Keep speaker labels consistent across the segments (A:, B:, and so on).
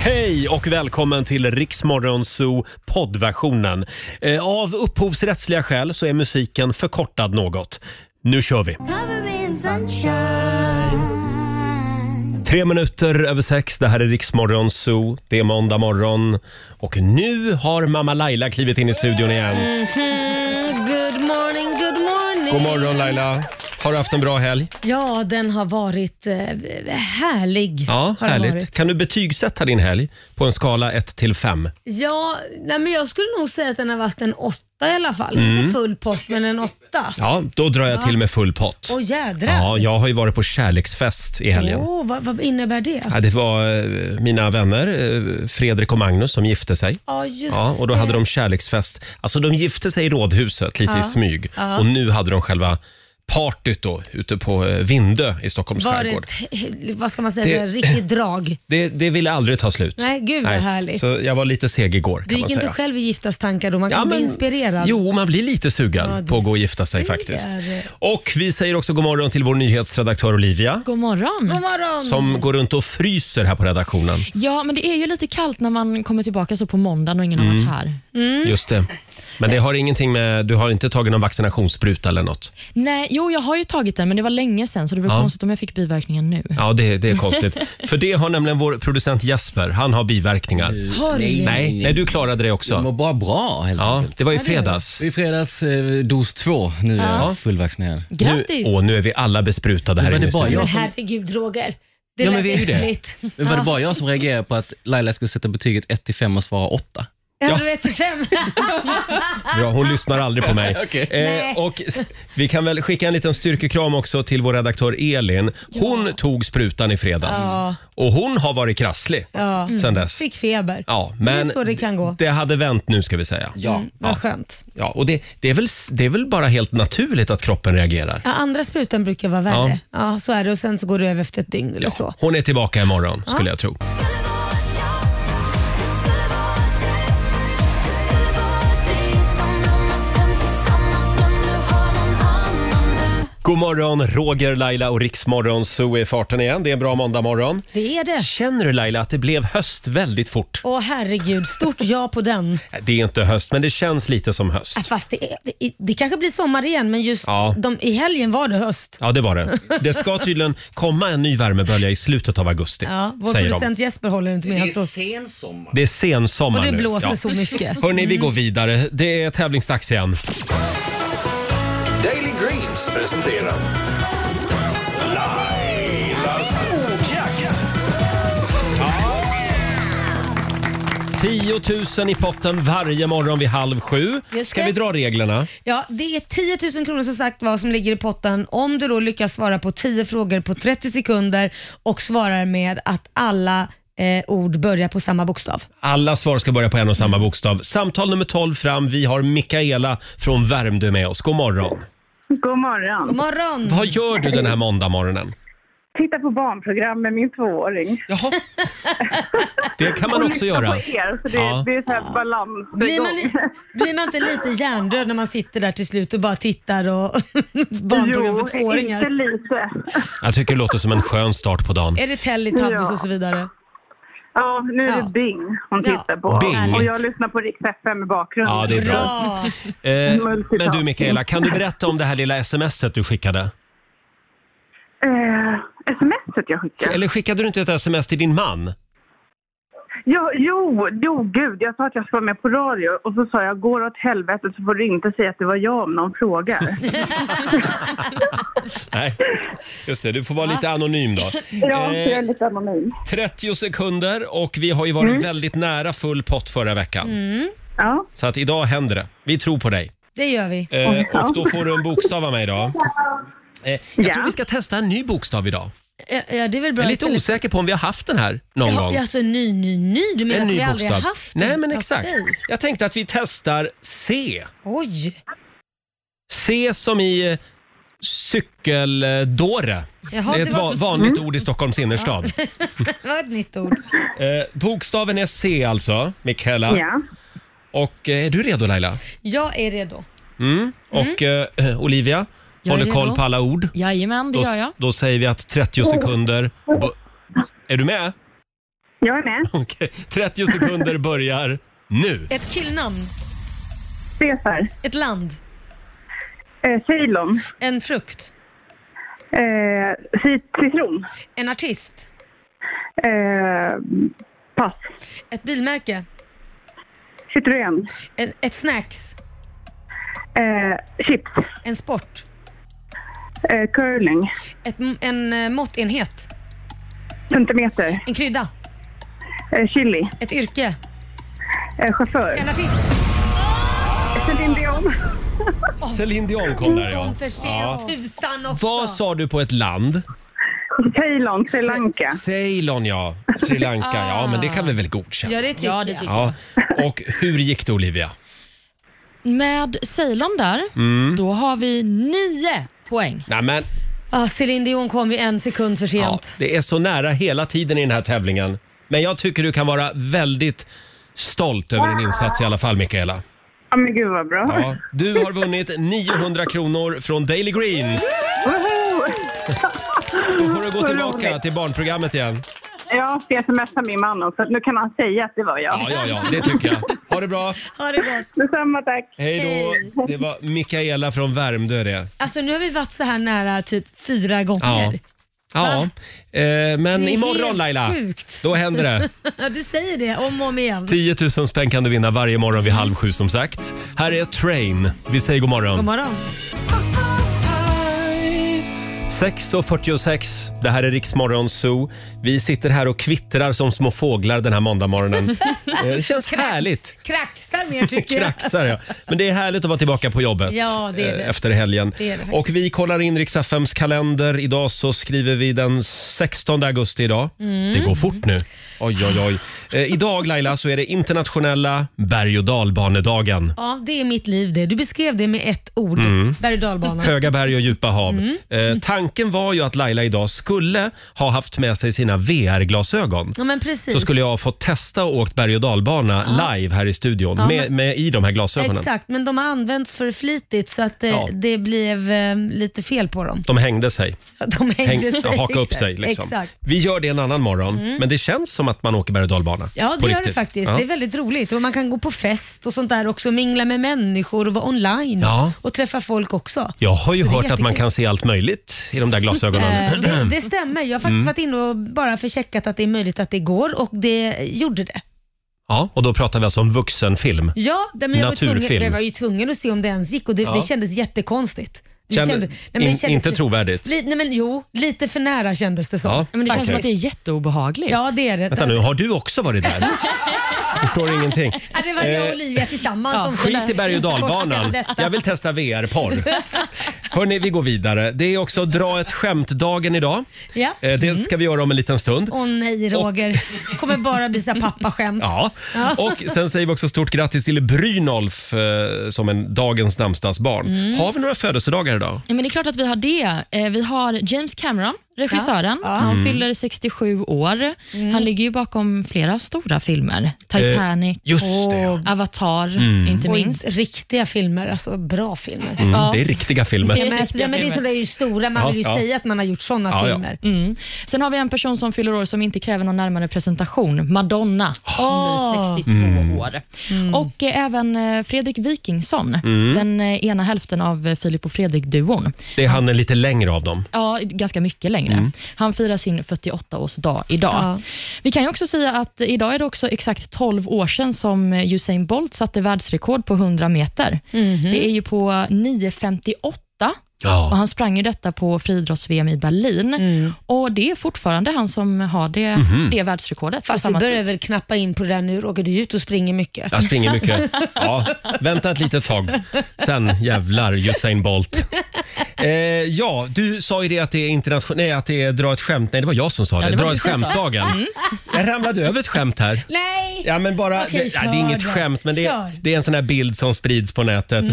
A: Hej och välkommen till Riksmorgon Zoo poddversionen. Eh, Av upphovsrättsliga skäl så är musiken förkortad något. Nu kör vi!
B: Cover me in sunshine.
A: Tre minuter över sex, det här är Riksmorgon Zoo. Det är måndag morgon och nu har mamma Laila klivit in i studion igen.
C: Mhm. Good morning, good morning.
A: God morgon Laila! Har du haft en bra helg?
C: Ja, den har varit eh, härlig.
A: Ja,
C: har den
A: härligt.
C: varit.
A: Kan du betygsätta din helg på en skala 1 till 5?
C: Ja, nej, men jag skulle nog säga att den har varit en åtta i alla fall. Inte full pott, men en åtta.
A: Mm. Ja, då drar jag till med full pott.
C: Åh jädrar.
A: Ja, jag har ju varit på kärleksfest i helgen.
C: Åh, vad, vad innebär det?
A: Ja, det var eh, mina vänner eh, Fredrik och Magnus som gifte sig.
C: Ja, just
A: Ja, och då hade
C: det.
A: de kärleksfest. Alltså de gifte sig i rådhuset lite i
C: Ja.
A: smyg
C: Ja.
A: och nu hade de själva partyt då ute på eh, Vindö i Stockholms
C: Var det
A: skärgård.
C: ett, he- vad ska man säga,
A: Det-
C: det... här, riktigt drag?
A: Det, det ville aldrig ta slut.
C: Nej, gud vad härligt.
A: Så jag var lite seg igår
C: Du
A: kan man
C: gick inte
A: säga.
C: själv i giftas tankar då? Man kan
A: Ja,
C: bli
A: men-
C: inspirerad.
A: Jo, man blir lite sugen
C: Ja, du
A: på att gå och gifta sig
C: ser.
A: faktiskt. Och vi säger också god morgon till vår nyhetsredaktör
C: Mm.
A: Olivia
D: God morgon.
C: God morgon!
A: som går runt och fryser här på redaktionen.
D: Ja, men det är ju lite kallt när man kommer tillbaka så på måndagen och ingen har
A: Mm.
D: varit här.
A: Just det. Men det har ingenting med, du har inte tagit någon vaccinationsspruta eller något?
D: Nej, jo, jag har ju tagit den, men det var länge sedan så det blir
A: Ja.
D: konstigt om jag fick biverkningen nu.
A: Ja, det, det är konstigt. För det har nämligen vår producent Jesper, han har biverkningar.
E: Mm.
C: Har du-
A: Nej, nej du klarade det
F: Jag
A: också.
F: mår bara bra helt
A: Ja,
F: enkelt.
A: det var i fredags.
F: Det är fredags eh, dos två. Nu är
A: Ja.
F: jag fullvaccinerad.
A: Nu,
D: Grattis!
A: åh, nu är vi alla besprutade här
F: Men
A: inne i
F: det var
A: studion.
F: jag.
C: Men
F: som-
C: herregud Roger. Det
F: Ja, men
C: lät
F: vi är ju det.
C: äckligt.
F: Men var det bara jag som reagerade på att Laila skulle sätta betyget 1 till 5 och svara 8?
C: Ja. du vet, fem.
A: Bra, hon lyssnar aldrig på mig.
F: Okej.
A: eh, och vi kan väl skicka en liten styrkekram också till vår redaktör Elin. Hon tog sprutan i fredags
C: Ja.
A: och hon har varit krasslig
C: Ja.
A: sen dess.
C: Fick feber.
A: Ja, men
C: Det är så det kan gå.
A: det hade vänt nu ska vi säga.
F: Ja.
C: Vad skönt.
A: Ja, och det, det, är väl, det är väl bara helt naturligt att kroppen reagerar.
C: Ja, andra sprutan brukar vara värre. Ja. så är det. Och Sen så går det över efter ett dygn eller så.
A: Hon är tillbaka imorgon skulle jag tro. God morgon, Roger, Laila och Riksmorgon. Så är farten igen. Det är en bra måndagmorgon.
C: Det är det.
A: Känner du Laila att det blev höst väldigt fort?
C: Åh herregud, stort ja på den.
A: Det är inte höst, men det känns lite som höst.
C: Äh, Fast det, är, det, det kanske blir sommar igen, men just
A: Ja.
C: de, i helgen var det höst.
A: Ja, det var det. Det ska tydligen komma en ny värmebölja i slutet av augusti,
C: Ja, vår
A: säger de.
C: producent Jesper håller inte med. Och
A: Det är sensommar
C: det
A: nu.
C: blåser så mycket.
A: Hörni, vi går vidare. Det är tävlingsdags igen.
E: Daily Greens presenterar Lailas ordjakt.
A: 10 000 i potten varje morgon vid halv sju.
C: Just
A: Ska
C: det.
A: vi dra reglerna?
C: Ja, det är 10 000 kronor som sagt vad som ligger i potten om du då lyckas svara på 10 frågor på 30 sekunder och svarar med att alla eh, ord börjar på samma bokstav.
A: Alla svar ska börja på en och samma bokstav. Samtal nummer 12 fram. Vi har Mikaela från Värmdö med oss. God morgon.
G: God morgon.
C: God morgon!
A: Vad gör du den här måndagmorgonen?
G: Titta på barnprogram med min tvååring.
A: Jaha. Det kan man också göra.
G: på er, så det,
A: Ja.
G: det är så här balans.
C: Blir man, blir man inte lite hjärndöd när man sitter där till slut och bara tittar och barnprogram för
G: Jo, inte
C: tvååringar?
G: lite.
A: Jag tycker det låter som en skön start på dagen.
C: Är det Teletubbies
G: Ja.
C: och så vidare?
G: Ja, nu är
C: Ja.
G: det Bing hon
C: Ja.
G: tittar på.
A: Bing.
G: Och jag lyssnar på Rix FM i bakgrunden.
A: Ja, det är bra.
C: Bra!
A: Eh, men du Mikaela, kan du berätta om det här lilla smset du skickade?
G: Eh, Smset jag skickar.
A: Eller skickade du inte ett sms till din man?
G: Jo, jo, jo, gud, jag sa att jag skulle vara med på radio och så sa jag går åt helvete så får du inte säga att det var jag om någon frågar.
A: Nej, just det. Du får vara lite anonym då.
G: ja,
A: Eh,
G: jag är lite anonym.
A: 30 sekunder och vi har ju varit väldigt nära full pott förra veckan.
G: Ja.
A: Så att idag händer det. Vi tror på dig.
C: Det gör vi.
A: Eh, och då får du en bokstav av mig idag. Eh, jag
G: Ja.
A: tror vi ska testa en ny bokstav idag.
C: Ja, ja, det är väl bra.
A: Jag är lite
C: Istället-
A: osäker på om vi har haft den här någon gång.
C: Ja, alltså ny, ny, ny. Du menar
A: En
C: att
A: ny
C: vi aldrig har
A: bokstav.
C: haft
A: Nej,
C: den?
A: men exakt.
C: Okej.
A: Jag tänkte att vi testar C.
C: Oj!
A: C som i eh, cykeldåre.
C: Jaha,
A: det är
C: det
A: ett va-
C: var-
A: vanligt ord i Stockholms innerstad.
C: Det var ett nytt ord.
A: Eh, bokstaven är C alltså, Mikaela.
G: ja.
A: Och eh, är du redo Laila?
C: Jag är redo.
A: Mm. Och eh, Olivia,
D: Jag är
A: håller koll
D: redo.
A: på alla ord.
D: Jajamän, det
A: Då,
D: gör jag.
G: Mm.
A: då säger vi att 30 sekunder... bo- Är du med?
G: Jag är med.
A: Okej, 30 sekunder börjar nu.
C: Ett killnamn,
G: Cesar.
C: ett land,
G: Eh, Ceylon.
C: en frukt,
G: Eh, cit- citron.
C: en artist,
G: Eh, pass.
C: ett bilmärke,
G: Citroën.
C: en, ett snacks,
G: Eh, chips.
C: en sport,
G: Eh, curling.
C: ett, m- en eh, måttenhet,
G: Centimeter.
C: en krydda,
G: Eh, chili.
C: ett yrke,
G: Eh, chaufför.
C: en artist.
G: Celine Dion.
A: Céline Dion kom där ja.
C: Kom för sent,
A: ja.
C: tusan också.
A: Vad sa du på ett land?
G: Ceylon. Sri Lanka.
A: Ceylon ja. Sri Lanka, ja men det kan vi väl godkänna.
C: Ja, det tycker
D: Ja, det
C: jag.
D: tycker
A: Ja. Och hur gick det Olivia?
D: Med Ceylon där,
A: Mm.
D: då har vi nio poäng.
A: Nej, men,
C: Ah, Céline Dion kom ju en sekund för
A: ja,
C: sent.
A: det är så nära hela tiden i den här tävlingen. Men jag tycker du kan vara väldigt stolt över din insats i alla fall Mikaela.
G: Ja, men gud vad bra.
A: Ja, du har vunnit 900 kronor från Daily Greens.
G: Woho!
A: Då får du gå
G: Så
A: tillbaka
G: roligt.
A: till barnprogrammet igen.
G: Jag ska smsa min man också. Nu kan han säga att det var jag.
A: Ja, ja, ja, det tycker jag. Ha det bra.
C: Ha det gott.
G: Detsamma, tack.
A: Hej då. Det var Mikaela från Värmdö det.
C: Alltså nu har vi varit så här nära typ fyra gånger.
A: Ja. Ja, eh, men
C: Det är
A: imorgon
C: helt
A: Laila,
C: sjukt.
A: då händer det.
C: Ja. Du säger det om och om igen.
A: 10 000 spänn kan du vinna varje morgon vid halv sju som sagt. Här är Train. Vi säger god morgon.
C: God morgon.
A: 6.46, det här är Riksmorgon Zoo. Vi sitter här och kvittrar som små fåglar den här måndagmorgonen. Eh, det känns härligt.
C: Kraxar mer tycker jag.
A: Kraxar, ja. Men det är härligt att vara tillbaka på jobbet
C: Ja, det är det.
A: eh, efter helgen.
C: Det är det faktiskt.
A: och vi kollar in Rix FMs kalender. Idag så skriver vi den 16 augusti idag.
C: Mm.
A: Det går fort nu. Oj, oj, oj. Eh, idag Laila så är det internationella berg och dalbanedagen.
C: Ja, det är mitt liv det. Du beskrev det med ett ord.
A: Mm.
C: Berg och dalbana.
A: Höga berg och djupa hav.
C: Mm.
A: Eh, tanken var ju att Laila idag skulle ha haft med sig sina VR-glasögon.
C: Ja, men precis.
A: Så skulle jag ha fått testa och åkt berg och dalbana live här i studion med, med, i de här glasögonen.
C: Exakt, men de har använts för flitigt så att det,
A: Ja.
C: det blev eh, lite fel på dem.
A: De hängde sig.
C: De hängde
A: Häng,
C: sig.
A: haka upp
C: exakt.
A: sig. Liksom.
C: Exakt. Mm.
A: Vi gör det en annan morgon, men det känns som att man åker berg och dalbana.
C: Ja, det
A: på
C: gör det
A: riktigt.
C: faktiskt.
A: Ja.
C: Det är väldigt roligt. Och Man kan gå på fest och sånt där också, mingla med människor och vara online
A: Ja.
C: och träffa folk också.
A: Jag har ju
C: Så det är
A: hört att man
C: jättekul.
A: kan se allt möjligt i de där glasögonen.
C: Eh, det, det stämmer. Jag har
A: Mm.
C: faktiskt varit inne och bara förcheckat att det är möjligt att det går och det gjorde det.
A: Ja, och då pratar vi alltså om vuxenfilm.
C: Ja, det- men jag var, ju tvungen,
A: Naturfilm.
C: jag var ju tvungen att se om det ens gick och det, det kändes jättekonstigt. Det
A: Kände-
C: kände- men det
A: in-
C: kändes
A: inte
C: li-
A: trovärdigt.
C: Li, nej men jo, lite för nära kändes det som.
A: Ja,
D: Men det känns som
A: faktiskt.
D: att det är jätteobehagligt.
C: Ja, det är det.
A: Vänta nu, har du också varit där? Jag förstår ingenting.
C: Ja, det var jag och Olivia tillsammans som
A: Eh, Skit i berg och dalbanan.
C: utforskade detta.
A: Jag vill testa VR-porr. Hörni, vi går vidare. Det är också dra ett skämt-dagen idag.
C: Ja. Mm.
A: Eh, Det ska vi göra om en liten stund.
C: Åh nej Roger, kommer bara bli så här pappaskämt.
A: Ja. Och sen säger vi också stort grattis till Brynolf eh, som en dagens namnsdagsbarn.
C: Mm.
A: Har vi några födelsedagar idag?
D: Ja, men det är klart att vi har det. Eh, Vi har James Cameron, regissören. Han
A: Mm.
D: fyller 67 år.
C: Mm.
D: Han ligger ju bakom flera stora filmer. Titanic,
A: Just det. ja.
D: Avatar, inte
C: Och
D: minst.
C: riktiga filmer, alltså bra filmer.
D: Ja.
A: Det är riktiga filmer.
C: Ja, men, alltså,
D: riktiga
C: ja, men det är
D: filmer.
C: sådana där ju stora, man
A: Ja,
C: vill ju
A: Mm. ja.
C: säga att man har gjort sådana
A: Ja, ja.
C: filmer.
D: Mm. Sen har vi en person som fyller år som inte kräver någon närmare presentation. Madonna. Hon blir 62 år. Och eh, även eh, Fredrik Wikingsson, den eh, ena hälften av eh, Filip och Fredrik-duon.
A: Det är han en lite längre av dem.
D: Ja, ganska mycket längre. Han firar sin 48-årsdag idag.
C: Ja.
D: Vi kan ju också säga att idag är det också exakt 12 år sedan som eh, Usain Bolt satte världsrekord på 100 meter. Det är ju på 9.58 och
A: Ja.
D: han sprang ju detta på friidrotts-VM i Berlin. Och Det är fortfarande han som har det,
A: Mhm.
D: det världsrekordet. på
C: Fast du
D: samma
C: börjar
D: tid.
C: väl knappa in på det där nu Roger, du är ju ute och springer mycket.
A: Jag springer mycket. Ja, vänta ett litet tag. Sen jävlar Usain Bolt. Eh, ja, du sa ju det att det är internation- nej, att det är dra ett skämt. Nej, det var jag som sa det.
D: det var
A: dra
D: du
A: ett
D: som sa.
A: skämt-dagen.
C: Mm.
A: Jag ramlade över ett skämt här.
C: Nej!
A: Ja, men bara,
C: Okej,
A: det,
C: kör
A: ja, det är inget
C: då.
A: skämt, men det,
C: Kör. Mm.
A: är- det är en sån här bild som sprids på nätet. Eh,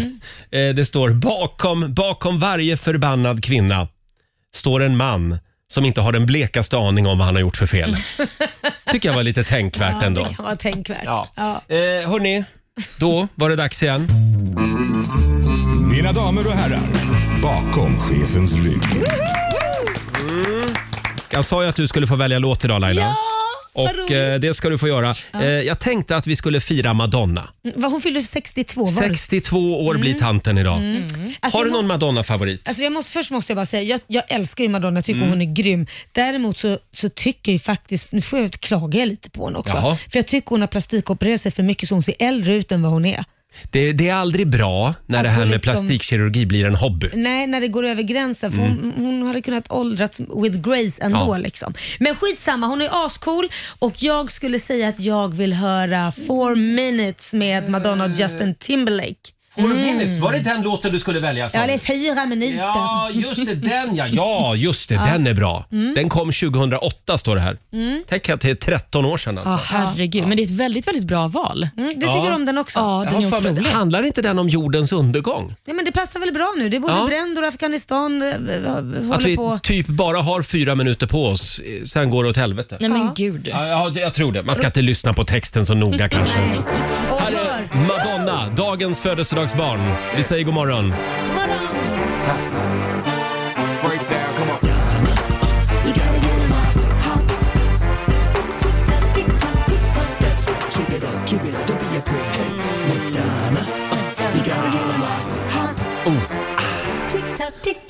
A: Det står bakom, bakom varje förbannad kvinna står en man som inte har den blekaste aning om vad han har gjort för fel. tycker jag var lite tänkvärt
C: Ja,
A: ändå.
C: det kan vara tänkvärt.
A: Ja.
C: Ja.
A: Eh, hörni, då var det dags igen.
B: Mina damer och herrar, bakom chefens rygg.
A: Jag sa ju att du skulle få välja låt idag Laila.
C: Ja!
A: Och eh, det ska du få göra. Eh, jag tänkte att vi skulle fira Madonna.
C: Mm, Vad Hon fyller 62 var det? Mm.
A: 62 år blir tanten idag.
C: Alltså,
A: Har du
C: jag må-
A: någon Madonna-favorit?
C: Alltså jag måste, först måste jag bara säga, jag, jag älskar ju Madonna, jag tycker
A: Mm.
C: hon är grym. Däremot så, så tycker jag ju faktiskt, nu får jag klaga lite på henne också,
A: Jaha.
C: för jag tycker hon har plastikopererat sig för mycket så hon ser äldre ut än vad hon är.
A: Det, det är aldrig bra när
C: Att
A: det här
C: hon
A: med
C: liksom-
A: plastikkirurgi blir en hobby.
C: Nej, när det går över gränsen. För hon, hon hade kunnat åldrats with grace ändå.
A: Ja.
C: Liksom. Men skitsamma, hon är ascool och jag skulle säga att jag vill höra Four minutes med Madonna och Justin Timberlake.
A: Four minutes, var det den låten du skulle välja?
C: Mm. Ja, det är fyra minuter.
A: just det, den ja. Ja, just det, den är bra.
C: Mm.
A: Den kom 2008 står det här. Tänk att det är 13 år sedan
D: Ja,
A: alltså.
D: herregud. Men det är ett väldigt, väldigt bra val.
C: Mm, du tycker om den också?
D: Ja,
A: Jag
D: den är
A: har för mig-
D: otrolig.
A: handlar inte den om jordens undergång?
C: Nej, men det passar väl bra nu? Det är både
A: Ja.
C: bränder och Afghanistan eh, v- v-
A: Att
C: håller
A: vi
C: på.
A: typ bara har fyra minuter på oss, eh, sen går det åt helvete.
D: Nej men
C: Ja.
D: gud.
A: Ja, ja, det- jag tror det. Man ska inte lyssna på texten så noga kanske.
C: Nej. Och
A: Här
C: hör.
A: är Madonna, dagens födelsedagsbarn. Vi säger god morgon.
C: Vadå?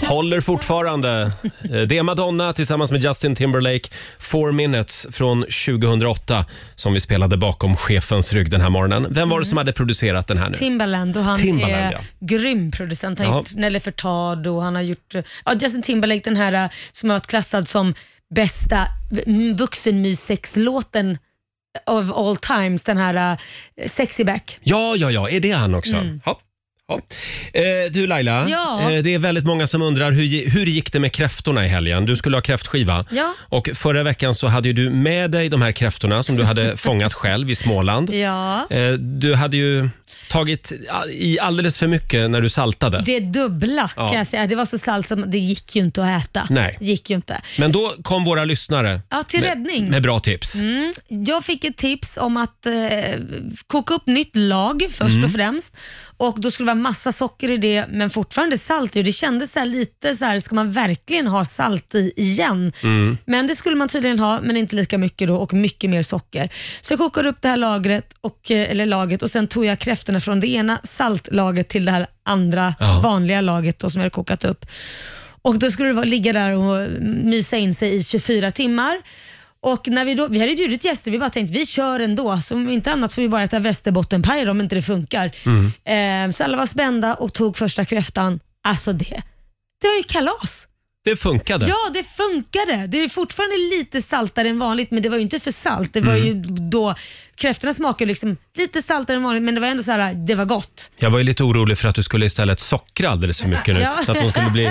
A: Håller fortfarande. Eh, Det är Madonna tillsammans med Justin Timberlake, Four Minutes från 2008 som vi spelade bakom chefens rygg den här morgonen. Vem var det som
C: Mm.
A: hade producerat den här nu?
C: Timbaland och han
A: Timbaland,
C: är
A: ja.
C: grym producent. Han har
A: Ja.
C: gjort Nelly Furtado och han har gjort ja, Justin Timberlake, den här eh, som har varit klassad som bästa v- m- vuxenmyssexlåten of all times. Den här eh, Sexy Back.
A: Ja, ja, ja, är det han också? Ja. Ja. Eh, du Laila,
C: Mm. Ja.
A: eh, det är väldigt många som undrar hur, gi- hur gick det med kräftorna i helgen? Du skulle ha kräftskiva.
C: Ja.
A: Och förra veckan så hade ju du med dig de här kräftorna som du hade fångat själv i Småland.
C: Ja.
A: Eh, Du hade ju tagit i alldeles för mycket när du saltade.
C: Det dubbla
A: Ja.
C: kan jag säga. Det var så salt som det gick ju inte att äta.
A: Nej.
C: Det gick ju inte.
A: Men då kom våra lyssnare
C: Ja, till räddning. Mm.
A: med bra tips.
C: Jag fick ett tips om att eh, koka upp nytt lag först och främst. Och Då skulle det vara massa socker i det, men fortfarande salt i. Och Det kändes så här lite så här, ska man verkligen ha salt i igen? Men det skulle man tydligen ha, men inte lika mycket då och mycket mer socker. Så jag kokade upp det här lagret och, eh, eller laget och sen tog jag kräftorna från det ena saltlaget till det här andra
A: Ja.
C: vanliga laget då, som jag hade kokat upp. Och Då skulle det vara, ligga där och mysa in sig i 24 timmar. Och när vi, då, vi hade bjudit gäster, vi bara tänkte vi kör ändå. Så om inte annat så får vi bara äta västerbottenpaj om inte det funkar. Eh, så alla var spända och tog första kräftan. Alltså det, det var ju kalas.
A: Det funkade.
C: Ja, det funkade. Det är fortfarande lite saltare än vanligt, men det var ju inte för salt. Det var ju då, kräftorna smakade liksom lite saltare än vanligt, men det var ändå så här, det var gott.
A: Jag var ju lite orolig för att du skulle istället sockra alldeles för mycket nu.
C: Ja.
A: Så att de skulle bli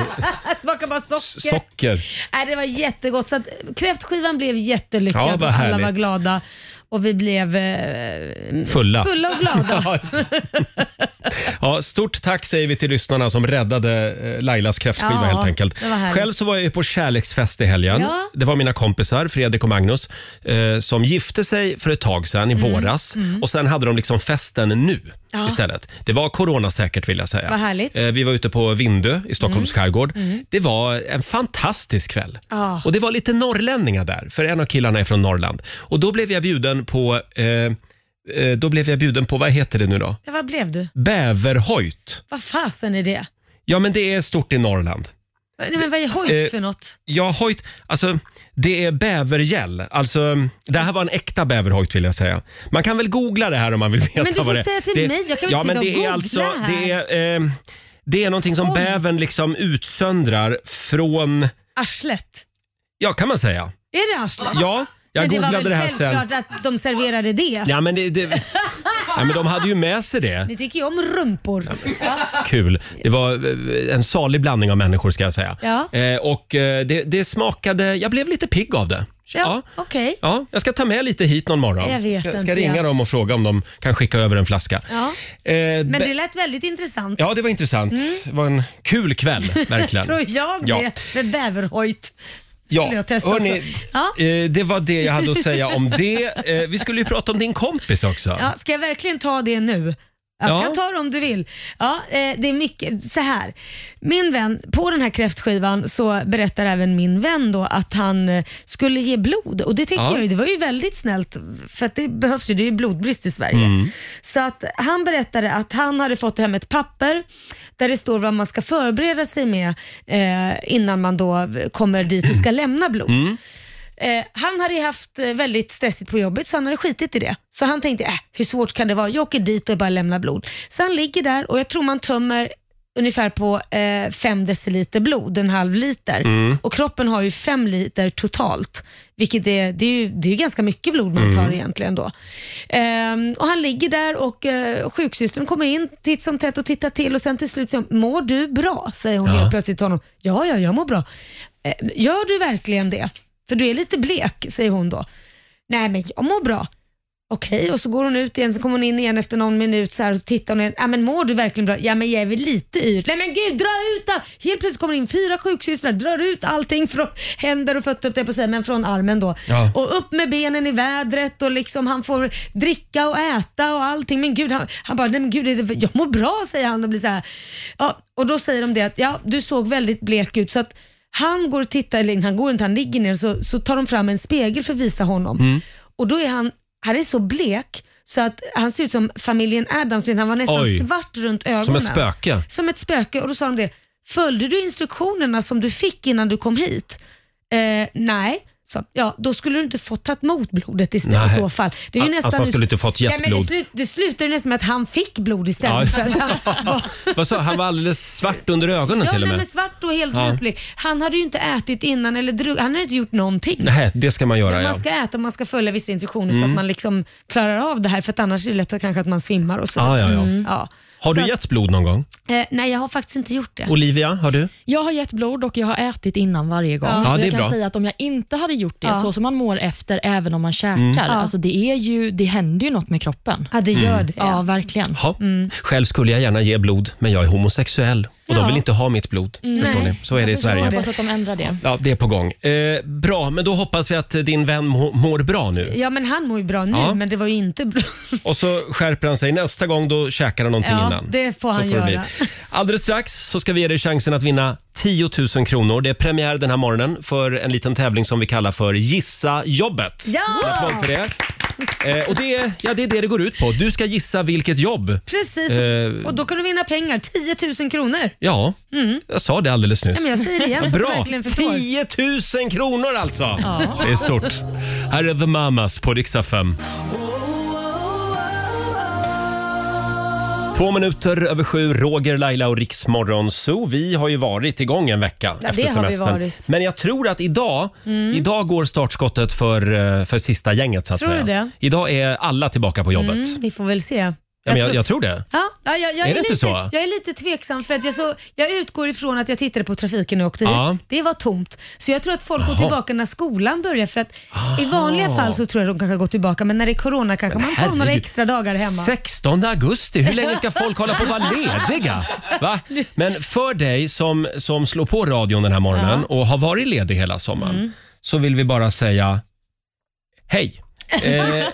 C: Smakar bara socker.
A: socker.
C: Nej, det var jättegott. Så att kräftskivan blev jättelyckad
A: Ja, vad
C: och alla var
A: härligt.
C: glada. Och vi blev eh,
A: Fulla.
C: fulla och glada.
A: Ja. ja, stort tack säger vi till lyssnarna som räddade eh, Lailas kräftskiva
C: Ja,
A: helt enkelt.
C: det var härligt.
A: Själv så var jag ju på kärleksfest i helgen.
C: Ja.
A: Det var mina kompisar Fredrik och Magnus eh, som gifte sig för ett tag sedan i
C: Mm,
A: våras och sen hade de liksom festen nu istället. Det var coronasäkert vill jag säga.
C: Vad härligt.
A: Eh, vi var ute på Vindö i Stockholms
C: Mm.
A: skärgård. Det var en fantastisk kväll.
C: Ja.
A: Och det var lite norrlänningar där, för en av killarna är från Norrland. Och då blev jag bjuden på eh, eh, då blev jag bjuden på, vad heter det nu då?
C: Ja, vad blev du?
A: Bäverhojt.
C: Vad fasen är det?
A: Ja, men det är stort i Norrland.
C: Nej, men vad är hojt
A: Eh,
C: för något?
A: Ja, hojt, alltså det är bävergäll. Alltså, det här var en äkta bäverhojt vill jag säga. Man kan väl googla det här om man vill veta
C: Men du
A: vad
C: får
A: det är.
C: säga till
A: det,
C: mig, jag kan väl
A: ja,
C: inte
A: men
C: sitta och
A: det är
C: googla
A: alltså,
C: här.
A: Det är, eh, det är någonting som
C: Hojt.
A: bävern liksom utsöndrar från,
C: Arslet?
A: ja kan man säga.
C: Är det arslet?
A: Ja, jag
C: men det var
A: googlade
C: väl
A: det, här sen.
C: självklart att de serverade det?
A: Ja, men det, det, ja, men de hade ju med sig det.
C: Ni tycker ju om rumpor.
A: Kul. Det var eh, en salig blandning av människor ska jag säga.
C: Ja.
A: Eh, och eh, det, det smakade, jag blev lite pigg av det.
C: Ja, okej.
A: Ja, jag ska ta med lite hit någon morgon.
C: Jag vet
A: ska, ska
C: inte,
A: ringa
C: ja.
A: dem och fråga om de kan skicka över en flaska.
C: Ja.
A: Eh,
C: Men
A: be-
C: det lät väldigt intressant.
A: ja, det var intressant. Det var en kul kväll, verkligen.
C: Tror jag
A: Ja.
C: det. Med bäverhojt. Skulle jag testa
A: hörni,
C: också. Ja.
A: eh, det var det jag hade att säga om det. Eh, vi skulle ju prata om din kompis också.
C: Ja, ska jag verkligen ta det nu? Jag
A: Ja.
C: kan ta det om du vill. Ja, eh, det är mycket. Så här. Min vän, på den här kräftskivan så berättar även min vän då att han eh, skulle ge blod och det tycker
A: Ja.
C: jag ju, det var ju väldigt snällt för att det behövs ju, det är ju blodbrist i Sverige.
A: Mm.
C: Så att han berättade att han hade fått hem ett papper där det står vad man ska förbereda sig med eh, innan man då kommer dit och ska lämna blod.
A: Mm.
C: Eh, han hade ju haft eh, väldigt stressigt på jobbet så han hade skitit i det. Så han tänkte, äh, hur svårt kan det vara? Jag åker dit och bara lämnar blod. Så han ligger där och jag tror man tömmer ungefär på 5 deciliter blod, en halv liter. Och kroppen har ju 5 liter totalt, vilket är, det är, ju, det är ju ganska mycket blod man tar egentligen då. Ehm, och Han ligger där och uh, sjuksystern kommer in titt som tätt och tittar till och sen till slut säger hon, mår du bra? Säger hon
A: Ja.
C: helt plötsligt till honom. Ja, ja, jag mår bra. "Eh, gör du verkligen det? För du är lite blek, säger hon då. Nej, men jag mår bra. Okej, och så går hon ut igen, så kommer hon in igen efter någon minut så här, och så tittar hon igen. Ja, men mår du verkligen bra? Ja, men jag är väl lite yr. Nej men gud, dra ut allt! Helt plötsligt kommer det in fyra sjuksystrar, drar ut allting från händer och fötter, höll jag på att säga, men från armen då.
A: Ja.
C: Och upp med benen i vädret och liksom han får dricka och äta och allting. Men gud, han, han bara, nej men gud, är det, jag mår bra säger han och blir så här. Ja, och då säger de det att, ja du såg väldigt blek ut så att han går och tittar, eller han går inte, han ligger ner så, så tar de fram en spegel för att visa honom. Och då är han, han är så blek så att han ser ut som familjen Addams, han var nästan
A: Oj.
C: svart runt ögonen.
A: Som ett spöke.
C: Som ett spöke och då sa de det. Följde du instruktionerna som du fick innan du kom hit? Eh, nej. Så, ja, då skulle du inte fått tagit emot blodet istället i
A: Nej.
C: så fall. Det är ju
A: Alltså,
C: nästan
A: han skulle inte fått gett
C: Nej, men det,
A: blod.
C: slu, det slutar ju nästan med att han fick blod
A: Ja.
C: istället. För att han var,
A: Vad sa Han var alldeles svart under ögonen
C: ja,
A: till och
C: nej,
A: med.
C: men svart och helt
A: Ja.
C: röplig. Han hade ju inte ätit innan eller drugg, han hade inte gjort någonting.
A: Nej, det ska man
C: Men
A: göra ja. Mm.
C: Man ska äta och man ska följa vissa instruktioner så att man liksom klarar av det här för att annars är det lätt att kanske att man svimmar och så.
A: Ah, ja, ja.
C: Ja.
A: Har
C: Mm. Så
A: du gett blod någon gång?
C: att, eh, nej, jag har faktiskt inte gjort det.
A: Olivia, har du?
D: Jag har gett blod och jag har ätit innan varje gång.
C: Ja.
A: Ja,
D: Och
A: det är
D: jag kan
A: bra.
D: säga att om jag inte hade gjort det,
C: Ja.
D: så som man mår efter, även om man käkar,
A: Mm.
D: alltså det, är ju, det händer ju något med kroppen.
C: Ja, det gör
A: Mm.
C: det.
D: Ja, verkligen.
A: Ja. Själv skulle jag gärna ge blod, men jag är homosexuell och de
C: Mm. Ja. Mm.
A: vill inte ha mitt blod. Förstår
C: Nej.
A: ni? Så är det i
D: Jag förstår,
A: Sverige.
D: hoppas att de ändrar det.
A: Ja, det är på gång. Eh, bra, men då hoppas vi att din vän må- mår bra nu.
C: Ja, men han mår ju bra nu,
A: Ja.
C: men det var ju inte bra.
A: Och så skärper han sig nästa gång, då käkar han någonting
C: Ja,
A: innan.
C: det får
A: Så
C: han
A: det
C: göra.
A: bli. Alldeles strax så ska vi ge dig chansen att vinna 10 000 kronor. Det är premiär den här morgonen för en liten tävling som vi kallar för Gissa jobbet.
C: Ja!
A: En applåd för det. Eh, och det, är- ja, det är det det går ut på. Du ska gissa vilket jobb.
C: Precis,
A: Eh.
C: och då kan du vinna pengar. 10 000 kronor.
A: Ja, jag sa det alldeles nyss.
C: Mm. Ja, men jag säger det igen så att du
A: Bra!
C: verkligen förstår.
A: 10 000 kronor alltså! Det är stort. Här är The Mamas på Riksa 5. Två minuter över sju, Roger, Laila och Riksmorgon Zoo. Vi har ju varit igång en vecka
C: Ja,
A: efter
C: det har vi
A: semestern.
C: varit. Mm.
A: Men jag tror att idag, idag går startskottet för, eh, för sista gänget så att
C: Tror du
A: säga.
C: det?
A: Idag är alla tillbaka på jobbet.
C: Mm, vi får väl se.
A: Ja, men
C: Jag
A: jag,
C: tror-
A: jag tror det.
C: Ja, ja, jag, jag
A: Är
C: är,
A: det inte
C: lite,
A: så?
C: Jag är lite tveksam för att jag, så, jag utgår ifrån att jag tittade på trafiken när jag åkte hit.
A: Ja.
C: Det var tomt. Så jag tror att folk
A: Jaha.
C: går tillbaka när skolan börjar för att i vanliga fall så tror jag de kanske går tillbaka men när det är corona kanske man tar några
A: herregud.
C: extra dagar hemma.
A: 16 augusti, hur länge ska folk hålla på att vara lediga? Va? Men för dig som, som slår på radion den här morgonen och har varit ledig hela sommaren så vill vi bara säga hej. Eh,
C: Välkommen!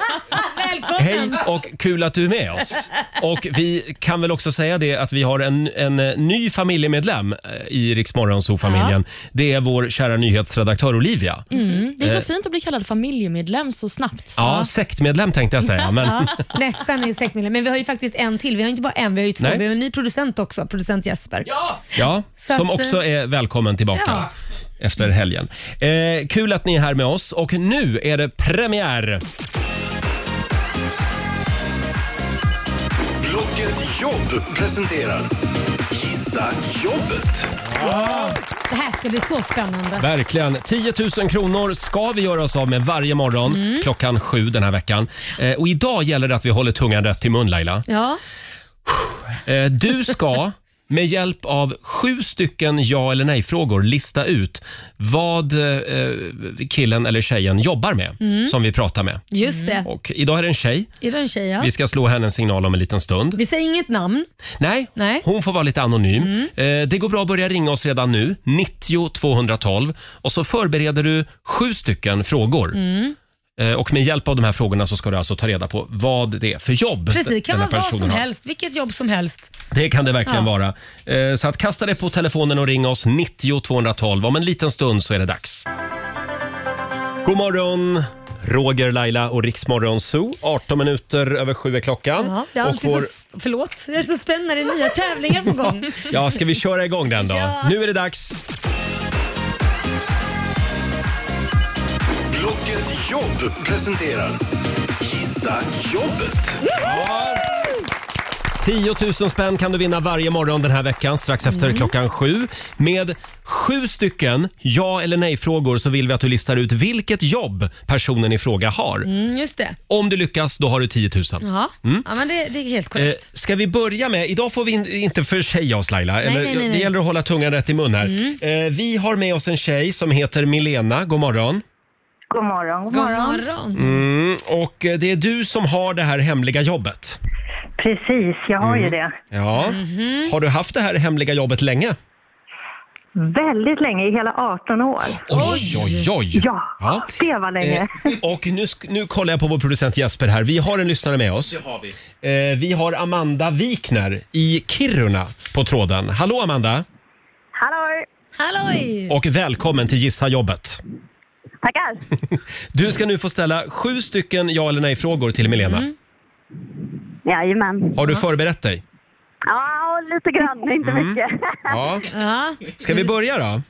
A: hej och kul att du är med oss. Och vi kan väl också säga det att vi har en, en eh, ny familjemedlem eh, i Rix familjen Det är vår kära nyhetsredaktör Olivia.
D: Mm. Det är så
A: Eh.
D: fint att bli kallad familjemedlem så snabbt.
A: Ja, sektmedlem tänkte jag säga. Men...
C: Ja, nästan i sex miljoner. Men vi har ju faktiskt en till. Vi har ju inte bara en, vi har ju två.
A: Nej.
C: Vi har en ny producent också, producent Jesper.
A: Ja,
C: Så
A: som
C: att, eh,
A: också är välkommen tillbaka
C: Ja.
A: efter helgen. Eh, kul att ni är här med oss och nu är det premiär.
E: Blocket Jobb presenterar Gissa jobbet.
C: Det här ska bli så spännande.
A: Verkligen. 10 000 kronor ska vi göra oss av med varje morgon
C: Mm.
A: klockan sju den här veckan. Eh, och idag gäller det att vi håller tungan rätt i mun Laila.
C: Ja,
A: Eh, du ska med hjälp av sju stycken ja eller nej-frågor lista ut vad eh, killen eller tjejen jobbar med
C: Mm.
A: som vi pratar med.
C: just det.
A: Och idag är det en tjej.
C: Är det en tjej ja?
A: Mm. Vi ska slå henne en signal om en liten stund.
C: Vi säger inget namn.
A: Nej,
C: Nej. Mm.
A: hon får vara lite anonym. Eh, det går bra att börja ringa oss redan nu,
C: Mm.
A: 90 212. Och så förbereder du sju stycken frågor. Eh, Och med hjälp av de här frågorna så ska du alltså ta reda på vad det är för jobb
C: Precis, det kan
A: den
C: vara
A: här
C: vad
A: personen
C: som
A: har.
C: helst, vilket jobb som helst.
A: Det kan det verkligen
C: Ja.
A: vara. Eh, Så att kasta dig på telefonen och ring oss 90 212. Om en liten stund så är det dags. God morgon! Roger, Laila och Riksmorgon Zoo. 18 minuter över sju är klockan.
C: Ja, det är
A: Och
C: alltid
A: vår-
C: så, förlåt, jag är så spänd när det är nya tävlingar på gång.
A: Ja, ska vi köra igång den då?
C: Ja.
A: Nu är det dags.
H: Blocket Jobb presenterar Gissa Jobbet.
A: 10 000 spänn kan du vinna varje morgon den här veckan strax efter
C: Mm.
A: klockan sju. Med sju stycken ja eller nej-frågor så vill vi att du listar ut vilket jobb personen i fråga har.
C: Mm, just det.
A: Om du lyckas, då har du 10 000.
C: Ja,
A: Mm.
C: ja men det, det är helt
A: Eh,
C: korrekt.
A: ska vi börja med, idag får vi in, inte försäga oss Laila,
C: nej,
A: eller,
C: Mm. nej,
A: det
C: nej.
A: gäller att hålla tungan rätt i mun här. Eh, vi har med oss en tjej som heter Milena, god morgon.
I: God morgon, god
C: God
I: morgon.
C: morgon.
A: Eh, Mm, och eh, det är du som har det här hemliga jobbet.
I: Precis, jag har
A: Mm.
I: ju det.
A: Ja. Har du haft det här hemliga jobbet länge?
I: Väldigt länge, i hela 18 år.
A: Oj, oj, oj.
I: Ja,
A: Ja.
I: det var länge.
A: Eh, och nu, sk- nu kollar jag på vår producent Jesper här. Vi har en lyssnare med oss.
J: har vi.
A: Eh, vi har Amanda Wikner i Kiruna på tråden. Hallå Amanda
I: Hallå!
C: Halloj!
A: och välkommen till Gissa jobbet.
I: Tackar!
A: Du ska nu få ställa sju stycken ja eller nej-frågor till Milena.
I: Jajamän.
A: Har du förberett dig?
I: Ja, lite grann, inte mycket.
A: Ja.
C: Ja.
A: Ska vi börja då?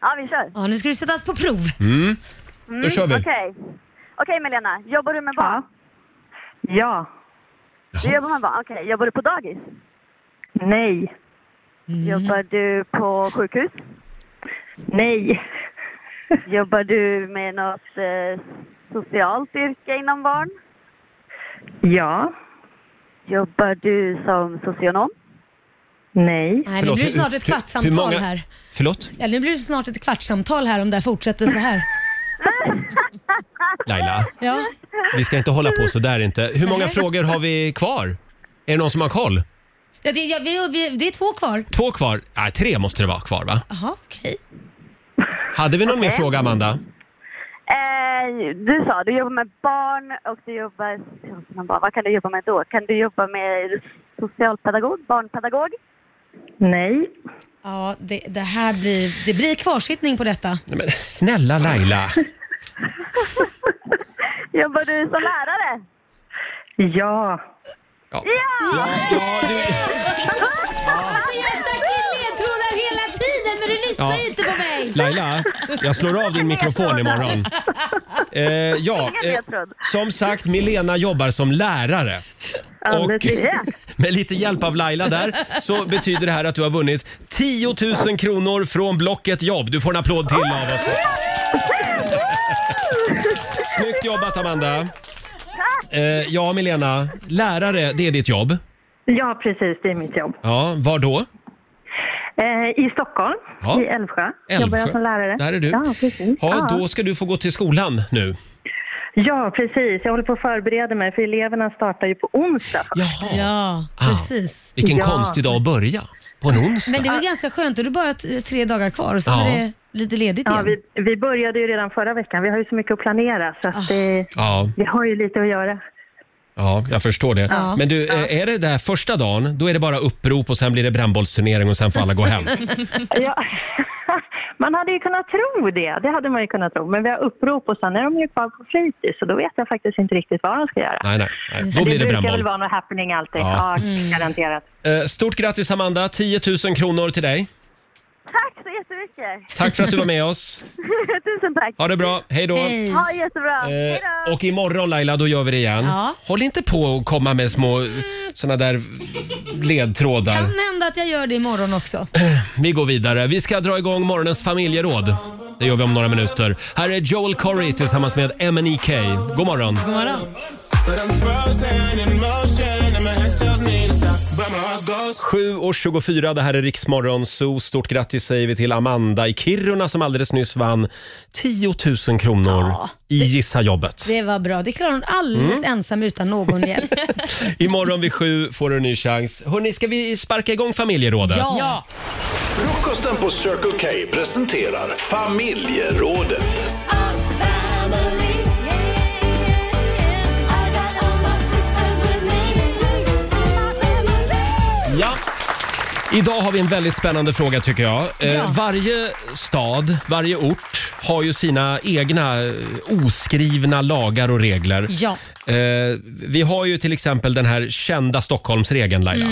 I: ja, vi kör.
C: ja, nu ska du sättas på prov.
A: Mm. Då kör vi.
K: Okej. Okej Melena, jobbar du med barn?
I: Ja. Ja.
K: Du jobbar med barn, okej. Jobbar du på dagis? Mm.
I: Nej.
K: Jobbar du på sjukhus?
I: Nej.
K: Jobbar du med något eh, socialt yrke inom barn?
I: Ja.
K: Jobbar du som socionom?
I: Nej.
C: Nej, nu blir
A: Förlåt,
C: det
A: hur-
C: snart ett
A: hur-
C: kvartssamtal
A: hur många-
C: här.
A: Förlåt?
C: Ja, nu blir det snart ett kvartssamtal här om det här fortsätter så här.
A: Laila,
C: Ja.
A: vi ska inte hålla på så där inte. Hur många frågor har vi kvar? Är det någon som har koll?
C: Ja, det, ja, vi, vi, det är två kvar.
A: Två kvar? Nej, tre måste det vara kvar va?
C: Jaha, okej.
A: Hade vi någon mer fråga Amanda?
K: Eh, du sa du jobbar med barn och du jobbar... som barn. Vad kan du jobba med då? Kan du jobba med socialpedagog, barnpedagog?
I: Nej.
C: Ja, det, det här blir, det blir kvarsittning på detta.
A: Nej, men snälla Laila.
K: Jobbar du som lärare?
I: Ja.
A: Ja. Ja, du...
C: Alltså jag stack in ledtrådar hela tiden men du lyssnar
A: Ja.
C: ju inte på mig.
A: Laila, jag slår av din mikrofon imorgon. Eh, ja, eh, som sagt, Milena jobbar som lärare. Och med lite hjälp av Laila där så betyder det här att du har vunnit 10 000 kronor från Blocket Jobb. Du får en applåd till av oss. Snyggt jobbat Amanda. Eh, ja, Milena, lärare det är ditt jobb.
I: Ja, precis. Det är mitt jobb.
A: Ja, var då?
I: Eh, I Stockholm,
A: Ja.
I: i Älvsjö, jobbar
A: Älvsjö.
I: jag som lärare.
A: Där är du.
I: Ja, precis.
A: Ja,
I: ja.
A: då ska du få gå till skolan nu.
I: ja, precis. Jag håller på att förbereda mig för eleverna startar ju på onsdag.
A: Jaha.
C: Ja,
A: Ah.
C: precis.
A: Vilken
I: Ja.
A: konstig dag att börja. På en onsdag.
C: Men det är väl ganska skönt och det är bara t- tre dagar kvar och så
A: Ja.
C: är det lite ledigt
I: Ja,
C: igen.
I: vi, vi började ju redan förra veckan. Vi har ju så mycket att planera så
A: Ah.
I: att det,
A: Ja,
I: vi har ju lite att göra.
A: ja, jag förstår det.
C: Ja.
A: Men du, eh, är det där första dagen, då är det bara upprop och sen blir det brännbollsturnering och sen får alla gå hem.
I: Ja. Man hade ju kunnat tro det, det hade man ju kunnat tro. Men vi har upprop och sen är de ju kvar på fritids så då vet jag faktiskt inte riktigt vad de ska göra.
A: Nej, nej, nej.
C: Just
A: Då
I: Men
A: blir det
I: brukar väl
A: brännboll.
I: vara någon happening alltid.
A: Ja.
I: Ja, garanterat.
A: Eh, Stort grattis Amanda, 10 000 kronor till dig.
K: Tack så jättemycket!
A: Tack för att du var med oss.
K: Tusen tack!
A: Ha det bra, hej då.
C: Hej.
K: Ha det jättebra! Hej
A: Eh,
K: då!
A: och imorgon Laila, då gör vi det igen.
C: Ja.
A: Håll inte på och komma med små såna där ledtrådar.
C: Kan hända att jag gör det imorgon också.
A: Vi går vidare. Vi ska dra igång morgonens familjeråd. Det gör vi om några minuter. Här är Joel Corey tillsammans med MNEK. God morgon.
C: God morgon.
A: 7 och 24, det här är Riksmorgon Zoo. Stort grattis säger vi till Amanda i Kiruna som alldeles nyss vann 10 000 kronor i Gissa jobbet.
C: Det var bra. Det klarar hon alldeles
A: Mm.
C: ensam utan någon hjälp.
A: Imorgon vid 7 får du en ny chans. Hörni, ska vi sparka igång familjerådet?
C: ja.
H: Frukosten på Circle K presenterar Familjerådet.
B: family, yeah.
A: Idag har vi en väldigt spännande fråga tycker jag. Eh,
D: Ja.
A: Varje stad, varje ort har ju sina egna eh, oskrivna lagar och regler.
C: Ja.
A: Eh, vi har ju till exempel den här kända Stockholmsregeln Laila.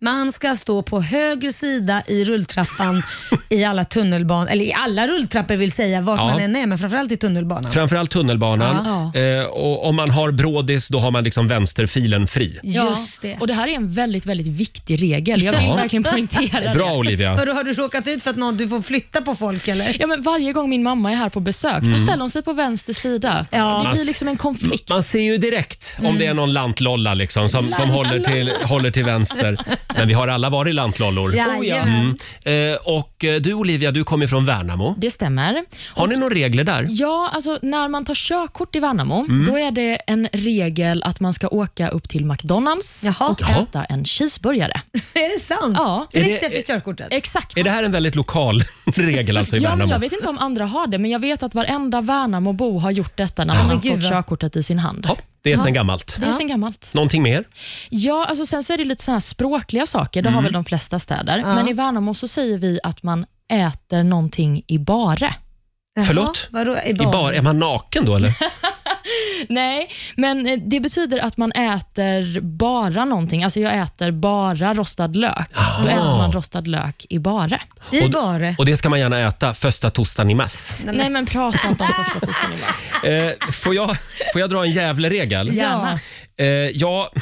C: Man ska stå på höger sida i rulltrappan i alla tunnelbanor, eller i alla rulltrappor vill säga, vart
A: Ja.
C: man än är, men framförallt i tunnelbanan.
A: Framförallt tunnelbanan. Eh, och om man har brådis då har man liksom vänsterfilen fri.
D: Ja,
C: Just det.
D: Och det här är en väldigt, väldigt viktig regel. Jag vill
A: Ja.
D: verkligen poängtera
A: Bra
D: det.
A: Olivia.
C: Vadå, har du råkat ut för att någon, du får flytta på folk eller?
A: Oh,
D: Ja, men varje gång min mamma är här på besök
A: Mm.
D: så ställer hon sig på vänster sida.
C: Ja.
D: Det blir liksom en konflikt.
A: Man ser ju direkt
C: Mm.
A: om det är någon lantlolla liksom, som, som håller, till, håller till vänster. Men vi har alla varit lantlollor.
C: Jajamän.
A: Mm. Eh, och eh, du Olivia, du kommer från Värnamo.
D: Det stämmer.
A: Har ni några regler där?
D: Ja, alltså när man tar körkort i Värnamo,
A: Mm.
D: då är det en regel att man ska åka upp till McDonalds
C: Jaha.
D: och
A: Jaha.
D: äta en cheeseburgare.
C: Är det sant?
D: Ja.
C: Direkt
A: Är det-
C: efter körkortet?
D: Exakt.
A: Är det här en väldigt lokal regel alltså i
D: Ja, men
A: Värnamo?
D: jag vet inte om andra har det, men jag vet att varenda Värnamobo har gjort detta när man
C: men
D: har
C: gud,
D: fått
C: vad-
D: körkortet i sin hand.
A: Ja, det är sen gammalt.
D: Det är sen gammalt.
A: Någonting mer?
D: Ja, alltså sen så är det lite såna här språkliga saker,
A: Mm.
D: det har väl de flesta städer. Men i Värnamo så säger vi att man äter någonting i bare.
C: Jaha.
A: Förlåt?
C: Vadå, i
A: I
C: bar?
A: bar, är man naken då eller?
D: Nej, men eh, det betyder att man äter bara någonting. Alltså jag äter bara rostad lök.
A: Ah.
D: Då äter man rostad lök i bare.
C: I bare?
A: Och det ska man gärna äta första tostan i mass.
C: Nej,
D: Nej,
C: men,
D: men prata inte om första tusen i mass.
A: Eh, får, jag, får jag dra en Gävle-regel?
C: ja.
D: Gärna.
A: Eh, ja,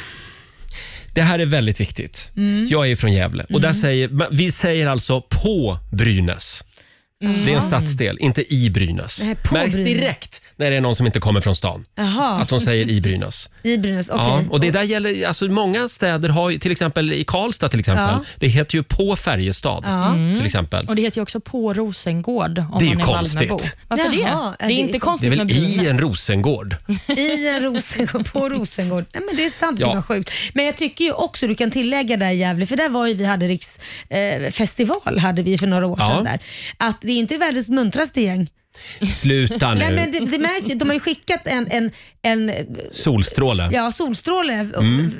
A: det här är väldigt viktigt.
C: Mm.
A: Jag är ju från Gävle och där säger, ma- vi säger alltså på Brynäs. Det är en stadsdel, inte i Brynäs.
C: Nej, på
A: Märks
C: Brynäs.
A: direkt när det är någon som inte kommer från stan.
C: Jaha,
A: Att de säger i Brynäs.
C: i Brynäs. Okej.
A: Ja, och det där gäller, alltså många städer har ju, till exempel i Karlstad till exempel,
C: Ja.
A: det heter ju på Färjestad till exempel.
D: Och det heter ju också på Rosengård om
A: Det är ju
D: man är
A: konstigt.
D: Malmöbo. Varför
C: Jaha,
D: det?
C: ja,
D: Det
C: det
D: är
C: är
D: inte
C: konstigt.
A: Det
D: konstigt
A: är
D: med
A: väl i
D: Brynäs.
A: en Rosengård?
C: I en Rosengård, på Rosengård. Nej, men det är sant,
A: Ja.
C: det var sjukt. Men jag tycker ju också, du kan tillägga där i Gävle, för där var ju vi hade riksfestival eh, festival hade vi för några år
A: Ja.
C: sedan där. Att det är ju inte världens muntraste gäng.
A: Sluta nu.
C: Nej, men det, det märks ju, de har ju skickat en, en, en
A: Solstråle.
C: ja, solstråle eh,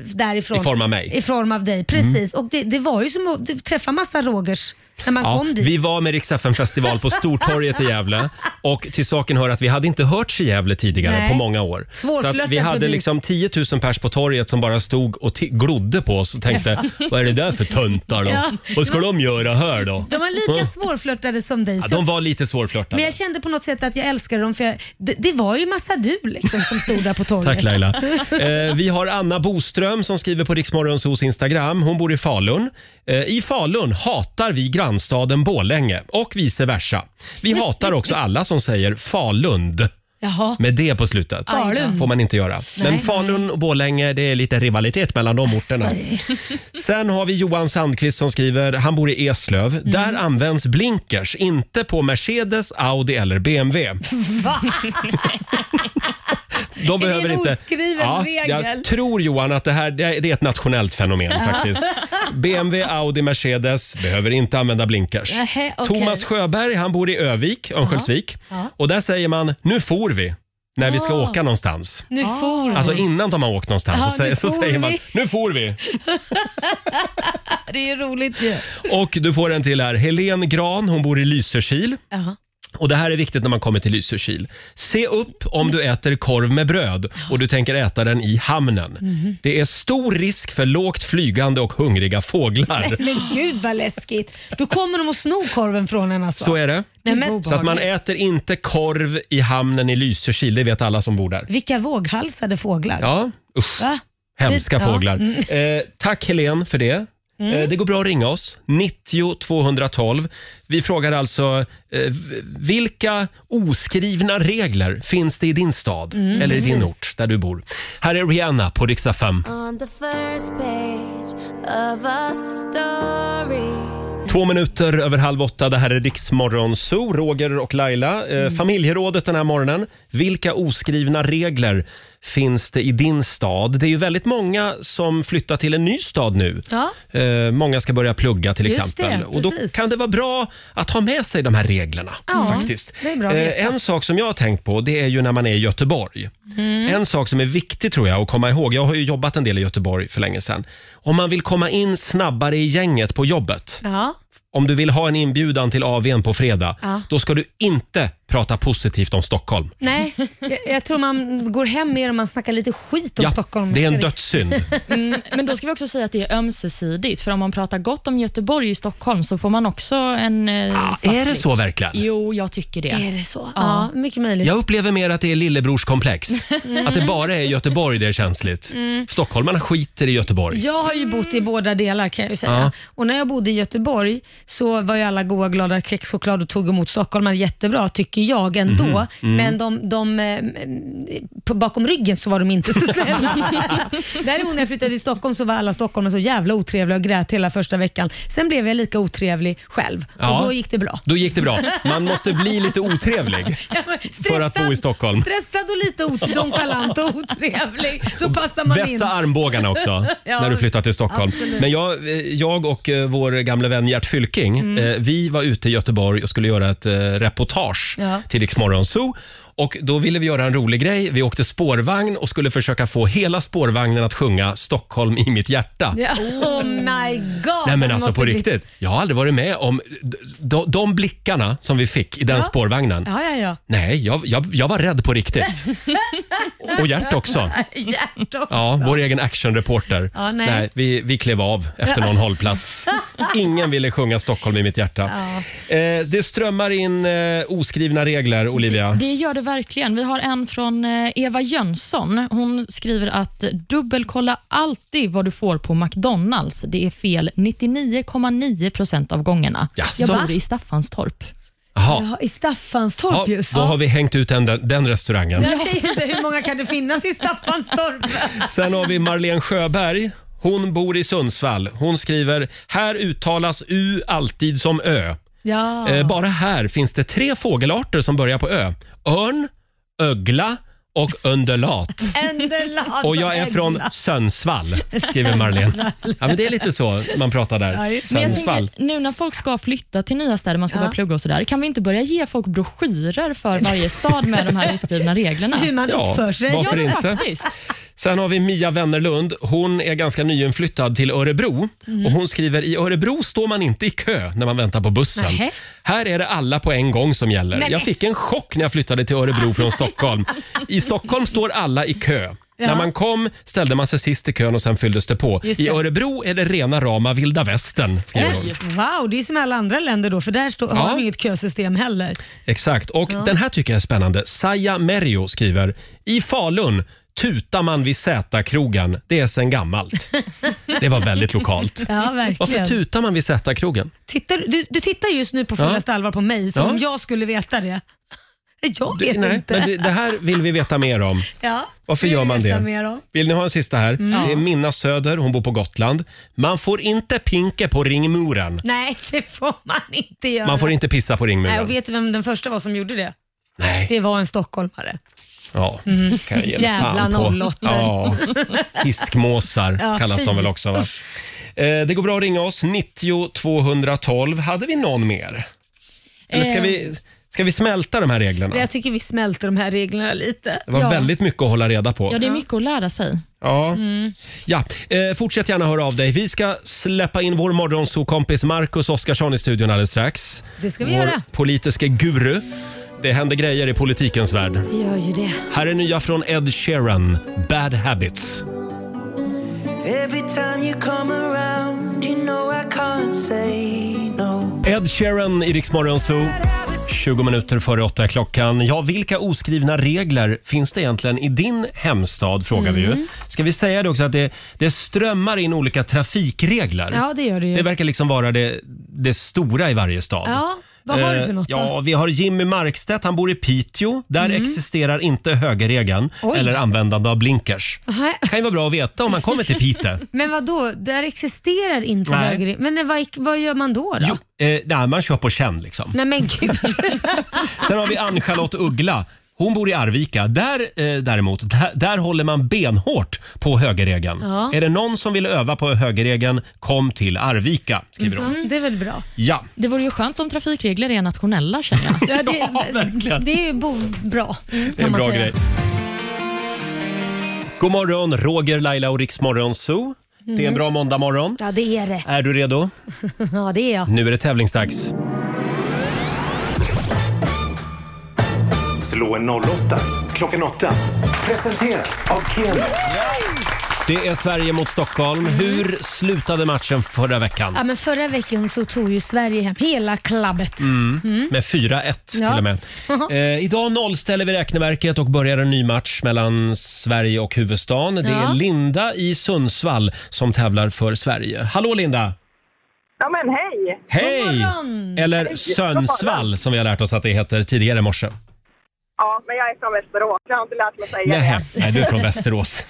C: därifrån.
A: Mm. I form av mig. Mm.
C: I form av dig, precis. Och det, det var ju som att du träffa massa Rogers när man
A: Ja,
C: kom dit.
A: vi var med Rix festival på Stortorget i Gävle och till saken hör att vi hade inte hört i Gävle tidigare
C: Nej.
A: på många år. Så
C: Svårflörtad
A: att vi hade
C: publik.
A: liksom 10 000 pers på torget som bara stod och ti- glodde på oss och tänkte vad är det där för töntar då?
C: Ja.
A: Vad ska de göra här då?
C: De var lika svårflörtade som dig.
A: Ja,
C: så-
A: de var lite svårflörtade.
C: Men jag kände på något sätt att jag älskade dem för jag, det, det var ju massa du liksom som stod där på torget.
A: Tack Laila. Eh, vi har Anna Boström som skriver på Riksmorgonsos Instagram. Hon bor i Falun. Eh, I Falun hatar vi grannstaden Borlänge och vice versa. Vi hatar också alla som säger Falund.
C: Jaha.
A: Med det på slutet.
C: Falun.
A: får man inte göra. Men Falun och Borlänge, det är lite rivalitet mellan de orterna. Sen har vi Johan Sandqvist som skriver, han bor i Eslöv.
C: Mm.
A: Där används blinkers, inte på Mercedes, Audi eller BMW. De
C: det
A: behöver
C: en
A: inte...
C: oskriven regel?
A: Jag tror Johan att det här det är det är ett nationellt fenomen faktiskt. BMW, Audi, Mercedes behöver inte använda blinkers.
C: Nähä, okej.
A: Thomas Sjöberg, han bor i Övik, Örnsköldsvik.
C: Ja.
A: Och där säger man, nu får vi, när vi ska
C: Ja.
A: åka någonstans.
C: Nu for
A: Alltså innan de har åkt någonstans
C: Ja,
A: så, säger,
C: nu
A: så
C: for
A: säger man
C: vi.
A: nu får vi.
C: Det är roligt ju.
A: Och du får en till här. Helen Gran, hon bor i Lysekil.
C: Jaha.
A: Och Det här är viktigt när man kommer till Lysekil. Se upp om du äter korv med bröd och du tänker äta den i hamnen.
C: Mhm.
A: Det är stor risk för lågt flygande och hungriga fåglar.
C: Men gud vad läskigt. Då kommer de och snor korven från en alltså.
A: Så är det.
C: Nej,
D: Gud,
C: men,
D: vad
A: Så att man
D: obehagligt.
A: äter inte korv i hamnen i Lysekil, det vet alla som bor där.
C: vilka våghalsade fåglar.
A: Ja, usch.
C: Va?
A: Hemska
C: Ja. Mm.
A: fåglar. Eh, tack Helen för det. Eh, det går bra att ringa oss. 90 212. Vi frågar alltså eh, v- vilka oskrivna regler finns det i din stad
C: Mm.
A: eller i din ort där du bor? Här är Rihanna på riksdag 5.
L: On the first page of a story
A: Två minuter över halv åtta. Det här är Riksmorgon
C: Mm.
A: Zoo, Roger och Laila. Eh, Familjerådet den här morgonen. Vilka oskrivna regler finns det i din stad? Det är ju väldigt många som flyttar till en ny stad nu.
C: Ja.
A: Eh, många ska börja plugga till
C: Just
A: exempel.
C: det,
A: och då
C: precis.
A: kan det vara bra att ha med sig de här reglerna.
C: Ja,
A: faktiskt.
C: det är bra att
A: Eh,
C: veta.
A: en sak som jag har tänkt på det är ju när man är i Göteborg.
C: Mm.
A: En sak som är viktig tror jag att komma ihåg, jag har ju jobbat en del i Göteborg för länge sedan. Om man vill komma in snabbare i gänget på jobbet,
C: Ja.
A: om du vill ha en inbjudan till AWn på fredag,
C: Ja.
A: då ska du inte prata positivt om Stockholm.
C: Nej, jag, jag tror man går hem mer om man snackar lite skit om Stockholm.
A: det är en
C: Ska vi-
A: dödssynd.
D: Mm, men då ska vi också säga att det är ömsesidigt, för om man pratar gott om Göteborg i Stockholm så får man också en eh, svart
A: Ah, är det
D: blick.
A: så verkligen?
D: Jo, jag tycker det.
C: Är det så? Ja, mycket möjligt.
A: Jag upplever mer att det är lillebrorskomplex.
C: Mm.
A: Att det bara är Göteborg det är känsligt. Stockholmarna skiter i Göteborg.
C: Jag har ju bott i båda delar kan jag ju säga.
A: Mm. Ja.
C: Och när jag bodde i Göteborg så var ju alla goa glada kexchoklad och tog emot stockholmare jättebra tycker jag ändå.
A: Mhm. Mm.
C: Men de, de, eh, på, bakom ryggen så var de inte så snälla. Däremot när jag flyttade till Stockholm så var alla stockholmare så jävla otrevliga och grät hela första veckan. Sen blev jag lika otrevlig själv
A: Ja.
C: och då gick det bra.
A: Då gick det bra. Man måste bli lite otrevlig.
C: Ja, men
A: För att bo i Stockholm.
C: Stressad och lite ot- nonchalant och otrevlig. Då passar man in.
A: Vässa armbågarna också
C: Ja,
A: när du flyttar till Stockholm.
C: absolut.
A: Men jag, eh, jag och eh, vår gamle vän Gert Fylking,
C: Mm.
A: eh, vi var ute i Göteborg och skulle göra ett eh, reportage
C: Ja.
A: till Rix Morgon Zoo. Och då ville vi göra en rolig grej. Vi åkte spårvagn och skulle försöka få hela spårvagnen att sjunga Stockholm i mitt hjärta.
C: Ja. Oh my god.
A: Nej men
C: man
A: alltså
C: måste
A: på
C: bli-
A: riktigt. Jag har aldrig varit med om d- de, de blickarna som vi fick i den
C: Ja.
A: spårvagnen.
C: Ja, ja, ja.
A: Nej, jag, jag, jag var rädd på riktigt. Och Gert också.
C: Hjärt också.
A: Ja, vår egen actionreporter.
C: Ja, nej.
A: vi, vi klev av efter någon hållplats. Ingen ville sjunga Stockholm i mitt hjärta. Eh, det strömmar in eh, oskrivna regler, Olivia.
D: Det gör det verkligen. Vi har en från eh, Eva Jönsson. Hon skriver att dubbelkolla alltid vad du får på McDonalds. Det är fel 99,9 procent av gångerna.
A: Jaså?
D: Jag bor i Staffanstorp.
A: Jaha,
C: Ja, I Staffanstorp
A: ja,
C: just.
A: då har vi hängt ut den, den restaurangen.
C: Jag säger så, hur många kan det finnas i Staffanstorp?
A: Sen har vi Marlene Sjöberg. Hon bor i Sundsvall. Hon skriver, här uttalas U alltid som Ö.
C: Ja.
A: Eh, bara här finns det tre fågelarter som börjar på Ö. Örn, ögla och undulat.
C: Enderland
A: Och jag är från Sundsvall, skriver Marlene. Ja, men det är lite så man pratar
C: Ja,
A: där.
C: just
D: Men jag
A: Sundsvall.
D: tänker, nu när folk ska flytta till nya städer, man ska
C: Ja.
D: börja plugga och sådär, kan vi inte börja ge folk broschyrer för varje stad med de här oskrivna reglerna?
C: Alltså, Hur man
A: Ja,
C: uppför sig.
A: varför
C: Ja,
A: inte?
D: Faktiskt.
A: Sen har vi Mia Wennerlund. Hon är ganska nyinflyttad till Örebro.
C: Mhm.
A: Och Hon skriver i Örebro står man inte i kö när man väntar på bussen.
C: Nähä.
A: Här är det alla på en gång som gäller. Jag fick en chock när jag flyttade till Örebro från Stockholm. I Stockholm står alla i kö. När man kom ställde man sig sist i kön och sen fylldes det på.
C: Just
A: I
C: det.
A: Örebro är det rena rama vilda västern, skriver hon.
C: Eh, Wow, det är som alla andra länder då, för där står, har
A: Ja.
C: de inget kösystem heller.
A: Exakt. Och den här tycker jag är spännande. Saja Merjo skriver, i Falun tutar man vid Z-krogen. Det är sen gammalt. Det var väldigt lokalt.
C: Ja,
A: Varför
C: verkligen.
A: tutar man vid Z-krogen?
C: Tittar, du, du tittar just nu på fullaste allvar på mig, som
A: Ja.
C: om jag skulle veta det. Jag
A: Du-
C: vet
A: Nej,
C: inte.
A: Men det, det här vill vi veta mer om.
C: ja.
A: Varför
C: Vill
A: gör
C: du
A: man
C: veta
A: det?
C: Mer om?
A: Vill ni ha en sista här?
C: Mm.
A: Det är Minna Söder, hon bor på Gotland. Man får inte pinka på ringmuren.
C: Nej, det får man inte göra.
A: Man får inte pissa på
C: Nej,
A: ringmuren.
C: och vet du vem den första var som gjorde det?
A: Nej.
C: Det var en stockholmare.
A: Ja, kan jag ge
C: Mhm. Jävla
A: fan på.
C: nollotter.
A: Ja, fiskmåsar
C: Ja,
A: kallas de
C: fy.
A: väl också va? Eh, Det går bra att ringa oss, 90 212. Hade vi någon mer? Eller ska
D: Eh.
A: vi, ska vi smälta de här reglerna?
C: Jag tycker vi smälter de här reglerna lite.
A: Det var
D: Ja.
A: väldigt mycket att hålla reda
D: Ja,
A: på.
D: det är mycket att lära sig.
A: Ja.
C: Mm.
A: Ja. Eh, fortsätt gärna höra av dig. Vi ska släppa in vår morgonsokompis Marcus Oskarsson i studion alldeles strax.
C: Det ska vi
A: vår
C: göra.
A: politiske guru. Det händer grejer i politikens värld.
C: Vi gör ju det.
A: Här är nya från Ed Sheeran, Bad Habits.
E: Every time you come around you know I can't say no
A: Ed Sheeran i Rix Morgon Zoo. 20 minuter före åtta är klockan. Ja, vilka oskrivna regler finns det egentligen i din hemstad? frågar vi
C: Mm.
A: ju. Ska vi säga det också att det, det strömmar in olika trafikregler.
C: Ja, det gör det ju.
A: Det verkar liksom vara det, det stora i varje stad.
C: Ja, vad har du för
A: Eh,
C: något då?
A: Ja, vi har Jimmy Markstedt. Han bor i Piteå. Där existerar inte högerregeln
C: Mm. Oj.
A: eller användande av blinkers.
C: Nej,
A: kan ju vara bra att veta om man kommer till Piteå.
C: Men vad då? Där existerar inte
A: Nej.
C: höger... Men vad, vad gör man då? då?
A: Jo, eh, nej, man kör på känn liksom.
C: Nej men gud.
A: Sen har vi Ann-Charlotte Uggla. Hon bor i Arvika. Där eh, däremot, där, där håller man benhårt på högerregeln.
C: Ja.
A: Är det någon som vill öva på högerregeln, kom till Arvika, skriver hon.
C: Mm, Det är väl bra.
A: Ja.
D: Det vore ju skönt om trafikregler är nationella känner jag.
C: Ja, det,
A: Ja, verkligen.
C: det är ju bo- bra. Kan
A: Det är en
C: man
A: bra
C: säga.
A: grej. God morgon, Roger, Laila och Riksmorgon Zoo. Det
C: Mm.
A: är en bra måndagmorgon.
C: Ja, det är det.
A: Är du redo?
C: Ja, det är jag.
A: Nu är det tävlingsdags.
B: Slå en 08 klockan 8. Presenteras av Keno.
A: Det är Sverige mot Stockholm.
C: Mm.
A: Hur slutade matchen förra veckan?
C: Ja, men förra veckan så tog ju Sverige hem hela klabbet.
A: Mm. Med 4-1 till
C: Ja.
A: och med. Eh, idag nollställer vi räkneverket och börjar en ny match mellan Sverige och huvudstaden. Det är
C: Ja.
A: Linda i Sundsvall som tävlar för Sverige. Hallå Linda!
G: Ja, men hej!
A: Hej!
C: morgon!
A: Eller Sönsvall som vi har lärt oss att det heter tidigare i morse.
G: Ja, men jag är från Västerås. Jag har inte lärt mig att säga
A: Nej,
G: det.
A: nej, du är från Västerås.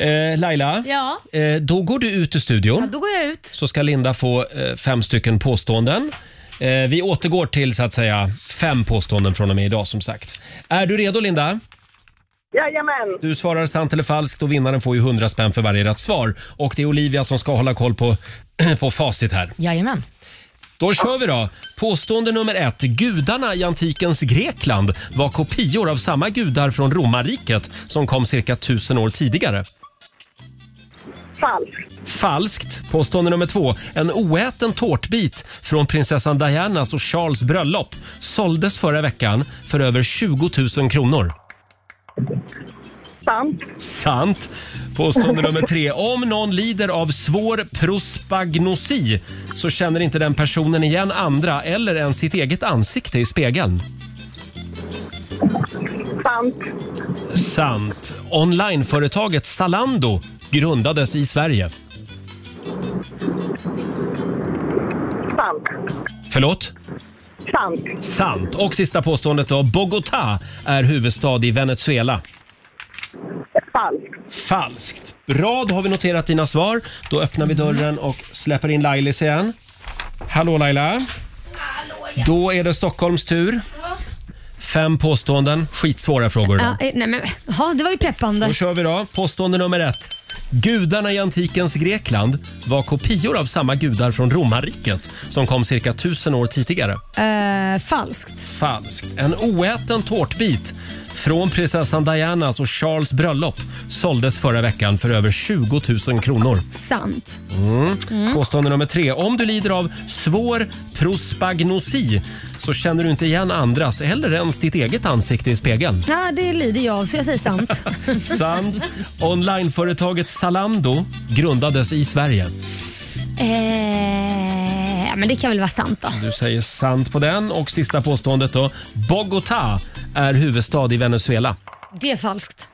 A: Eh, Laila,
C: Ja.
A: eh, då går du ut ur
C: ja,
A: studion
C: då går jag ut.
A: så ska Linda få eh, fem stycken påståenden. Eh, vi återgår till så att säga fem påståenden från och med idag som sagt. Är du redo Linda?
G: Jajamän!
A: Du svarar sant eller falskt och vinnaren får ju 100 spänn för varje rätt svar. Och det är Olivia som ska hålla koll på, på facit här.
D: Jajamän.
A: Då kör vi då. Påstående nummer ett. Gudarna i antikens Grekland var kopior av samma gudar från romarriket som kom cirka tusen år tidigare.
G: Falskt.
A: Falskt. Påstående nummer två. En oäten tårtbit från prinsessan Dianas och Charles bröllop såldes förra veckan för över 20 000 kronor.
G: Sant.
A: Sant. Påstående nummer tre. Om någon lider av svår prospagnosi så känner inte den personen igen andra eller ens sitt eget ansikte i spegeln.
G: Sant.
A: Sant. Onlineföretaget Zalando grundades i Sverige.
G: Sant.
A: Förlåt?
G: Sant.
A: Sant. Och sista påståendet då. Bogotá är huvudstad i Venezuela.
G: Falskt.
A: Falskt. Bra, då har vi noterat dina svar. Då öppnar vi dörren och släpper in Lailis igen. Hallå Laila. Då är det Stockholms tur. Fem påståenden. Skitsvåra frågor.
C: Ja,
A: Då.
C: eh, nej, men, ja, det var ju peppande.
A: då kör vi då. Påstående nummer ett. Gudarna i antikens Grekland var kopior av samma gudar från romarriket som kom cirka tusen år tidigare.
C: Eh, falskt.
A: Falskt. En oäten tårtbit från prinsessan Dianas och Charles bröllop såldes förra veckan för över 20 000 kronor.
C: Sant. Mm.
A: Påstående nummer tre. Om du lider av svår prospagnosi så känner du inte igen andras eller ens ditt eget ansikte i spegeln.
C: Ja, det lider jag av, så jag säger sant.
A: Sant. Onlineföretaget Zalando grundades i Sverige.
C: eh, ja, men det kan väl vara sant då.
A: Du säger sant på den. Och sista påståendet då. Bogotá är huvudstad i Venezuela.
C: Det är falskt.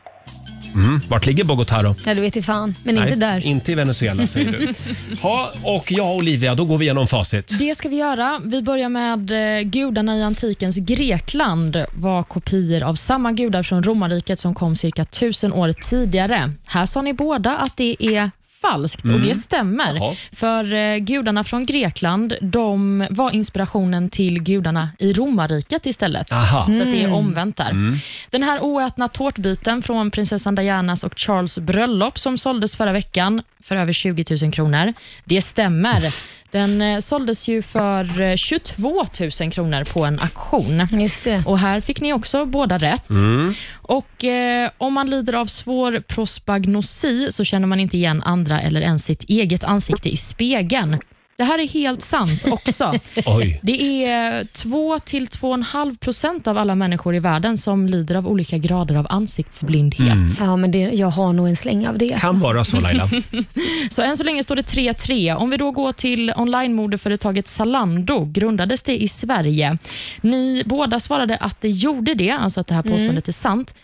A: Mm. Vart ligger Bogotá då?
C: Ja, du vet i fan. Men inte där.
A: Inte i Venezuela säger du. Ha, och jag Olivia, då går vi igenom facit.
D: Det ska vi göra. Vi börjar med eh, gudarna i antikens Grekland var kopior av samma gudar från romarriket som kom cirka tusen år tidigare. Här sa ni båda att det är falskt och det stämmer.
A: Mm. Jaha.
D: För eh, gudarna från Grekland de var inspirationen till gudarna i romarriket istället.
A: Aha.
D: Så att det är omvänt där. Den här oätna tårtbiten från prinsessan Dianas och Charles bröllop som såldes förra veckan för över 20 000 kronor. Det stämmer. Den eh, såldes ju för eh, 22 000 kronor på en auktion.
C: Just det.
D: Och Här fick ni också båda rätt. Och eh, Om man lider av svår prospagnosi så känner man inte igen andra eller ens sitt eget ansikte i spegeln. Det här är helt sant också.
A: Oj.
D: Det är 2-2,5 procent av alla människor i världen som lider av olika grader av ansiktsblindhet.
C: Ja, men det, jag har nog en släng av det.
A: Kan vara så Laila.
D: Så än så länge står det 3-3. Om vi då går till onlinemodeföretaget Zalando, grundades det i Sverige? Ni båda svarade att det gjorde det, alltså att det här påståendet är sant.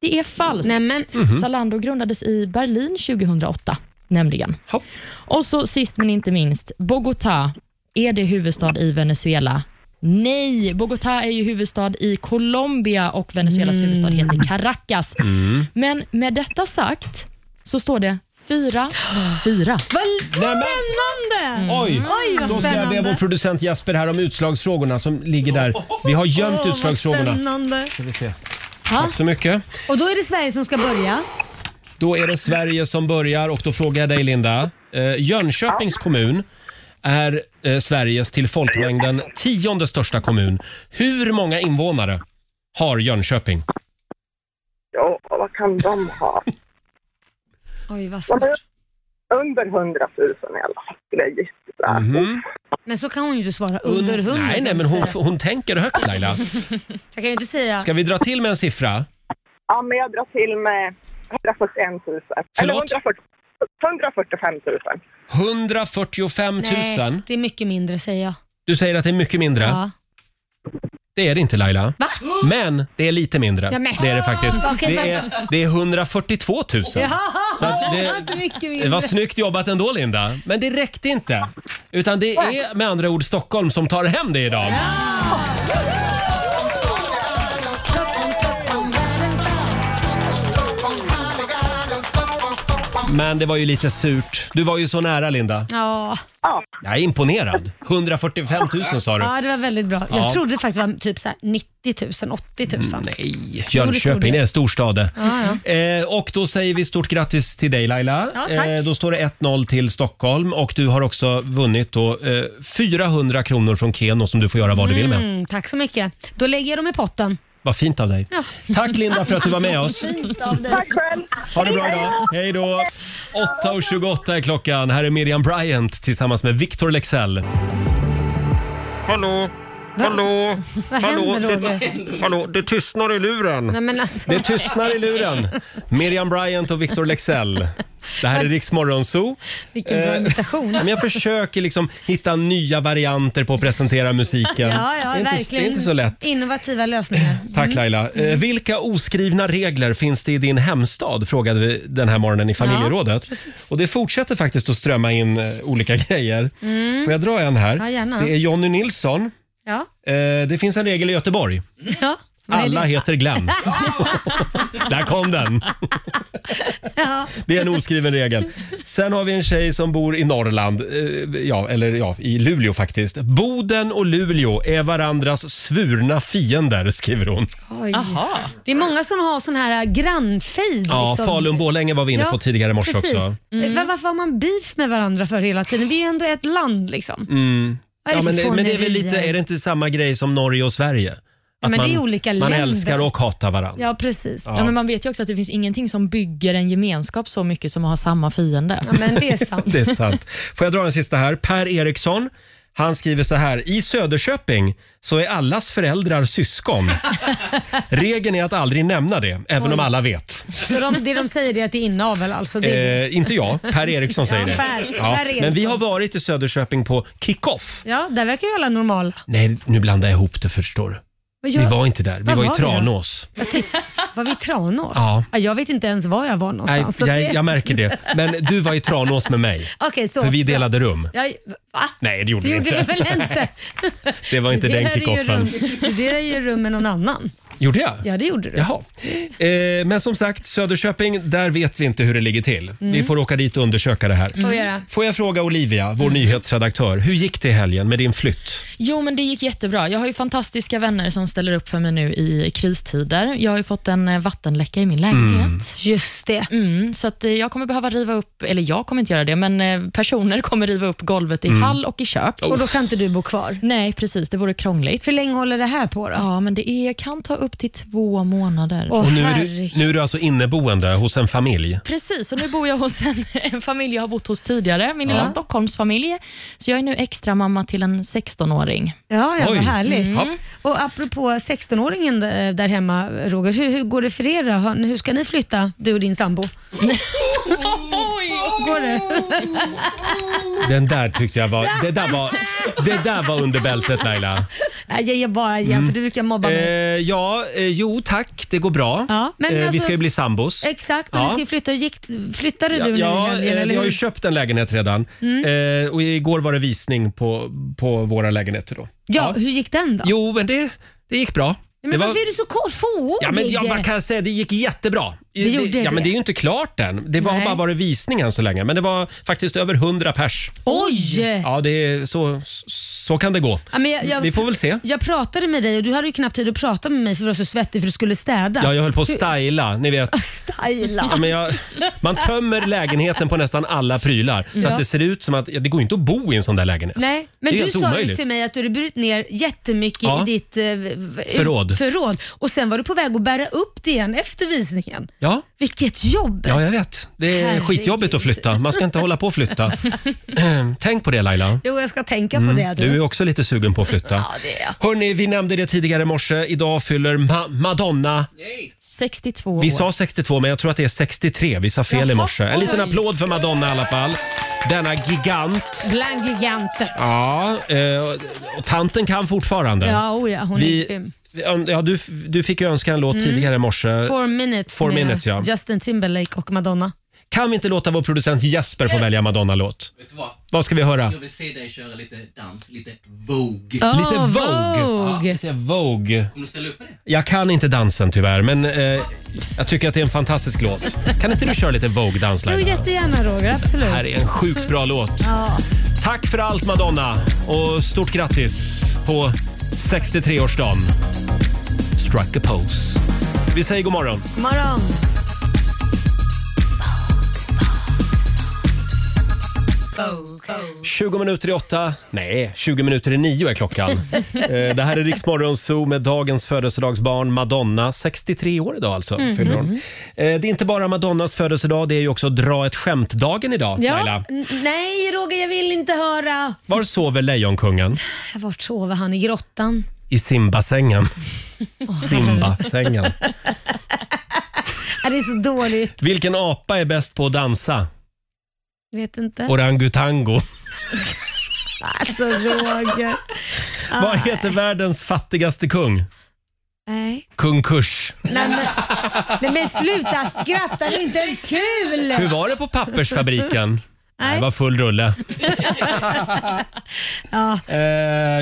D: Det är falskt.
C: Mm. Nej, men,
D: Zalando grundades i Berlin 2008, nämligen.
A: Hopp.
D: Och så sist men inte minst, Bogotá. Är det huvudstad i Venezuela? Nej, Bogotá är ju huvudstad i Colombia och Venezuelas huvudstad heter Caracas. Men med detta sagt så står det 4-4.
C: vad
A: men-
C: spännande!
A: Oj.
C: Oj, vad
A: Då ska jag be vår
C: spännande.
A: producent Jasper här om utslagsfrågorna som ligger där. Vi har gömt
C: Åh, vad
A: utslagsfrågorna.
C: spännande.
A: Ska vi se. Tack så mycket.
C: Och då är det Sverige som ska börja.
A: Då är det Sverige som börjar och då frågar jag dig Linda. Eh, Jönköpings kommun är eh, Sveriges till folkmängden tionde största kommun. Hur många invånare har Jönköping?
G: Ja, vad kan de ha?
C: Oj, vad svårt.
G: Under 100 000 i alla fall, skulle jag gissa.
A: Mhm.
C: Men så kan hon ju inte svara. Under
A: Und-
C: hundra.
A: Nej, nej,
C: kan
A: men
C: jag
A: hon,
C: säga.
A: hon tänker högt Laila.
C: Jag kan ju inte säga.
A: Ska vi dra till med en siffra?
G: Ja, men jag drar till med 141 000. Eller
A: Förlåt?
G: 140, 145 000.
A: 145 000.
C: Nej, det är mycket mindre säger jag.
A: Du säger att det är mycket mindre.
C: Ja.
A: Det är det inte Laila.
C: Va?
A: Men det är lite mindre.
C: Ja, men-
A: Det är det faktiskt.
C: Okej,
A: Det är, det är 142 000. Så att
C: Det var
A: det,
C: inte mycket
A: det var
C: mindre.
A: snyggt jobbat ändå Linda. Men det räckte inte. Utan det är med andra ord Stockholm som tar hem det idag. Men det var ju lite surt. Du var ju så nära Linda.
C: Ja.
A: Jag är imponerad. 145 000 sa du.
C: ja, det var väldigt bra.
A: Ja. Mm,
C: Jag trodde det faktiskt var typ så här 90 000, 80 000.
A: Nej,
C: trodde
A: Jönköping
C: jag.
A: det är en storstad.
C: Ja,
A: Eh, och då säger vi stort grattis till dig Laila. Eh,
C: Ja, tack.
A: då står det 1-0 till Stockholm och du har också vunnit då, eh, 400 kronor från Keno som du får göra vad du vill med.
C: Mm, tack så mycket. Då lägger jag dem i potten.
A: Vad fint av dig. Tack Linda för att du var med oss.
G: Tack själv!
A: Ha det bra idag. Hej då. 8.28 är klockan. Här är Miriam Bryant tillsammans med Victor Lexell. Hallå, hallå,
C: Vad händer Roger?
A: hallå, det tystnar i luren.
C: Nej, men alltså,
A: Det tystnar i luren. Miriam Bryant och Victor Lexell. Det här är Riks Morgonzoo.
C: vilken bra
A: Eh,
C: imitation.
A: Men jag försöker liksom hitta nya varianter på att presentera musiken.
C: Ja, ja,
A: det, är inte, det
C: verkligen. Mm.
A: är inte så lätt.
C: Innovativa lösningar.
A: Tack Laila. Eh, Vilka oskrivna regler finns det i din hemstad? Frågade vi den här morgonen i familjerådet. och det fortsätter faktiskt att strömma in eh, olika grejer. Får jag dra en här?
C: Mm. Ja, gärna.
A: Det är Jonny Nilsson.
C: Ja.
A: Eh, Det finns en regel i Göteborg.
C: ja. vad är
A: Mm. Alla
C: det?
A: heter Glenn. Där kom den.
C: Ja.
A: Det är en oskriven regel. Sen har vi en tjej som bor i Norrland, eh, ja, eller ja, i Luleå faktiskt. Boden och Luleå är varandras svurna fiender, skriver hon.
C: Oj. Det är många som har sån här äh, grannfejd.
A: Ja,
C: liksom.
A: Falun-Borlänge var vi inne på
C: Ja,
A: tidigare i morse
C: Precis. Eh,
A: också.
C: Va- Varför har man beef med varandra för hela tiden? Vi är ändå ett land liksom. Vad är
A: Mm. Ja,
C: det för
A: men, men det är väl
C: fånerier?
A: lite, är det inte samma grej som Norge och Sverige? Att
C: men det är olika
A: man
C: länder.
A: älskar och hatar varandra.
C: Ja, precis. Ja.
D: Ja, men man vet ju också att det finns ingenting som bygger en gemenskap så mycket som att ha samma fiende.
C: men det är sant.
A: Det är sant. Får jag dra en sista här? Per Eriksson. Han skriver så här. I Söderköping så är allas föräldrar syskon. Regeln är att aldrig nämna det, även om alla vet.
C: Så de, det de säger är att det är inavel alltså. Det är...
A: Eh, inte jag, Per Eriksson säger
C: Ja,
A: det.
C: Per- Per Eriksson.
A: men vi har varit i Söderköping på kickoff.
C: Ja, där verkar ju alla normala.
A: Nej, nu blandar jag ihop det förstår du.
C: Vad
A: Vi
C: gör-
A: var inte där, vi
C: Var
A: var i
C: var vi då?
A: Tranås.
C: Jag tänkte, var vi i Tranås?
A: Ja.
C: Jag vet inte ens var jag var
A: Nej,
C: någonstans. så
A: jag,
C: det-
A: jag märker det. Men du var i Tranås med mig,
C: Okej, så.
A: för vi delade rum.
C: Jag, va?
A: Nej, det
C: Det
A: gjorde vi
C: gjorde vi
A: inte.
C: väl inte?
A: Det var inte
C: Du
A: den
C: delade ju
A: kickoffen.
C: rum- Du delade ju rum med någon annan.
A: Gjorde jag?
C: Ja, det gjorde du.
A: Jaha. Eh, men som sagt, Söderköping, där vet vi inte hur det ligger till.
C: Mm.
A: Vi får åka dit och undersöka det här.
C: Får vi göra.
A: Får jag fråga Olivia,
C: Mm.
A: vår nyhetsredaktör, hur gick det i helgen med din flytt?
D: Jo, men det gick jättebra. Jag har ju fantastiska vänner som ställer upp för mig nu i kristider. Jag har ju fått en eh, vattenläcka i min lägenhet.
C: Just det.
D: Mm. så att eh, jag kommer behöva riva upp, eller jag kommer inte göra det, men eh, personer kommer riva upp golvet i hall och i kök.
C: Och då kan inte du bo kvar.
D: Nej, precis. Det vore krångligt.
C: Oh. Hur länge håller det här på då?
D: Ja, men det är, kan ta upp till två månader.
C: Åh,
A: Och nu är, du,
C: herregud.
A: nu är du alltså inneboende hos en familj.
D: Precis, och nu bor jag hos en, en familj jag har bott hos tidigare, min lilla Stockholmsfamilj. Så jag är nu extra mamma till en 16-åring.
C: Ja, ja
A: Oj. Mm.
C: vad härligt.
A: Ja.
C: Och apropå 16-åringen d- där hemma, Roger. Hur, hur går det för er då? Har ni- Hur ska ni flytta, du och din sambo? Går det?
A: Den där tyckte jag
C: Mm.
A: var... Det där var, det där var under bältet Laila.
C: Nej, Jag ger bara igen, för du brukar mobba
A: Eh,
C: mig.
A: ja, eh, jo tack, det går bra.
C: Ja, men
A: eh, vi
C: alltså-
A: ska ju bli sambos.
C: Exakt, och
A: Ja.
C: ni ska ju flytta. Hur Gick, flyttade du nu i
A: Ja,
C: helgen?
A: eh,
C: eller
A: vi har ju
C: hur? Mm.
A: köpt en lägenhet redan eh, och igår var det visning på, på våra lägenheter då.
C: ja, hur gick den då?
A: Jo, men det, det gick bra.
C: Men
A: Det var-
C: varför är du så kortfådig?
A: Ja, men jag, vad kan jag säga? Det gick jättebra.
C: Det gjorde
A: ja,
C: det.
A: Men det är ju inte klart än. Det var
C: Nej.
A: bara varit visning än så länge. Men det var faktiskt över 100 pers.
C: Oj! Ja.
A: Ja, det är, så, så kan det gå.
C: men jag, jag,
A: Vi får väl se.
C: jag pratade med dig och du hade ju knappt tid att prata med mig för du var så svettig för du skulle städa.
A: Ja, jag höll på att styla, ni vet.
C: Styla.
A: Ja, men jag, man tömmer lägenheten på nästan alla prylar så att det ser ut som att ja, det går inte att bo i en sån där lägenhet.
C: Nej, men
A: Det är
C: du
A: helt
C: sa ju
A: omöjligt.
C: till mig att du hade burit ner jättemycket
A: Ja.
C: i ditt eh, v-
A: Förråd.
C: förråd och sen var du på väg att bära upp det igen efter visningen.
A: Ja.
C: Vilket jobb!
A: ja, jag vet. Det är
C: Herregud.
A: skitjobbigt att flytta. Man ska inte hålla på att flytta. Eh, Tänk på det Laila.
C: Jo, jag ska tänka på det.
A: Mm. Du är också lite sugen på att flytta.
C: Ja, det är jag.
A: Hörni, vi nämnde det tidigare i morse. Idag fyller Ma- Madonna,
D: 62
A: vi
D: år.
A: sa 62 men jag tror att det är 63. Vi sa fel i morse. En liten applåd för Madonna i alla fall. Denna gigant.
C: Bland giganter.
A: Ja, eh, och- och tanten kan fortfarande.
C: Ja, oh ja hon är
A: Vi,
C: grym. Mm.
A: ja, du, du fick ju önska en låt tidigare i morse.
C: Four minutes,
A: Four
C: med
A: Minutes, ja.
C: Justin Timberlake och Madonna.
A: Kan vi inte låta vår producent Jesper få välja Madonna-låt?
F: Vet du vad?
A: Vad ska vi höra?
F: Jag vill se dig köra lite dans, lite Vogue.
A: Lite
C: Åh,
A: Vogue.
C: Ah, Vogue.
A: säger Vogue.
F: Kommer du ställa upp på det?
A: Jag kan inte dansen tyvärr, men eh, jag tycker att det är en fantastisk låt. Kan inte du köra lite Vogue-dans,
C: Jo,
A: Laila?
C: jättegärna Roger, absolut.
A: Det här är en sjukt bra låt. Tack för allt Madonna och stort grattis på 63-årsdagen. Struck a pose. Vi säger god morgon.
C: God morgon. Vogue.
A: 20 minuter i åtta, nej, 20 minuter i nio är klockan. Eh, det här är Riksmorgon Zoo med dagens födelsedagsbarn Madonna. 63 år idag alltså, fyller hon. Eh, det är inte bara Madonnas födelsedag, det är ju också dra ett skämt-dagen idag,
C: Ja,
A: Laila.
C: n- nej Roger, jag vill inte höra.
A: Var sover Lejonkungen?
C: Vart sover han? I grottan?
A: I simbassängen. Simbassängen.
C: Äh, Det är så dåligt.
A: Vilken apa är bäst på att dansa?
C: Vet inte.
A: Orangutango.
C: Alltså Roger.
A: Vad heter världens fattigaste kung?
C: Nej.
A: Kung Kurs.
C: Nej, men, nej men sluta skratta, det är inte ens kul.
A: Hur var det på pappersfabriken? Nej.
C: Nej.
A: Det var full rulle.
C: Ja.
A: Eh,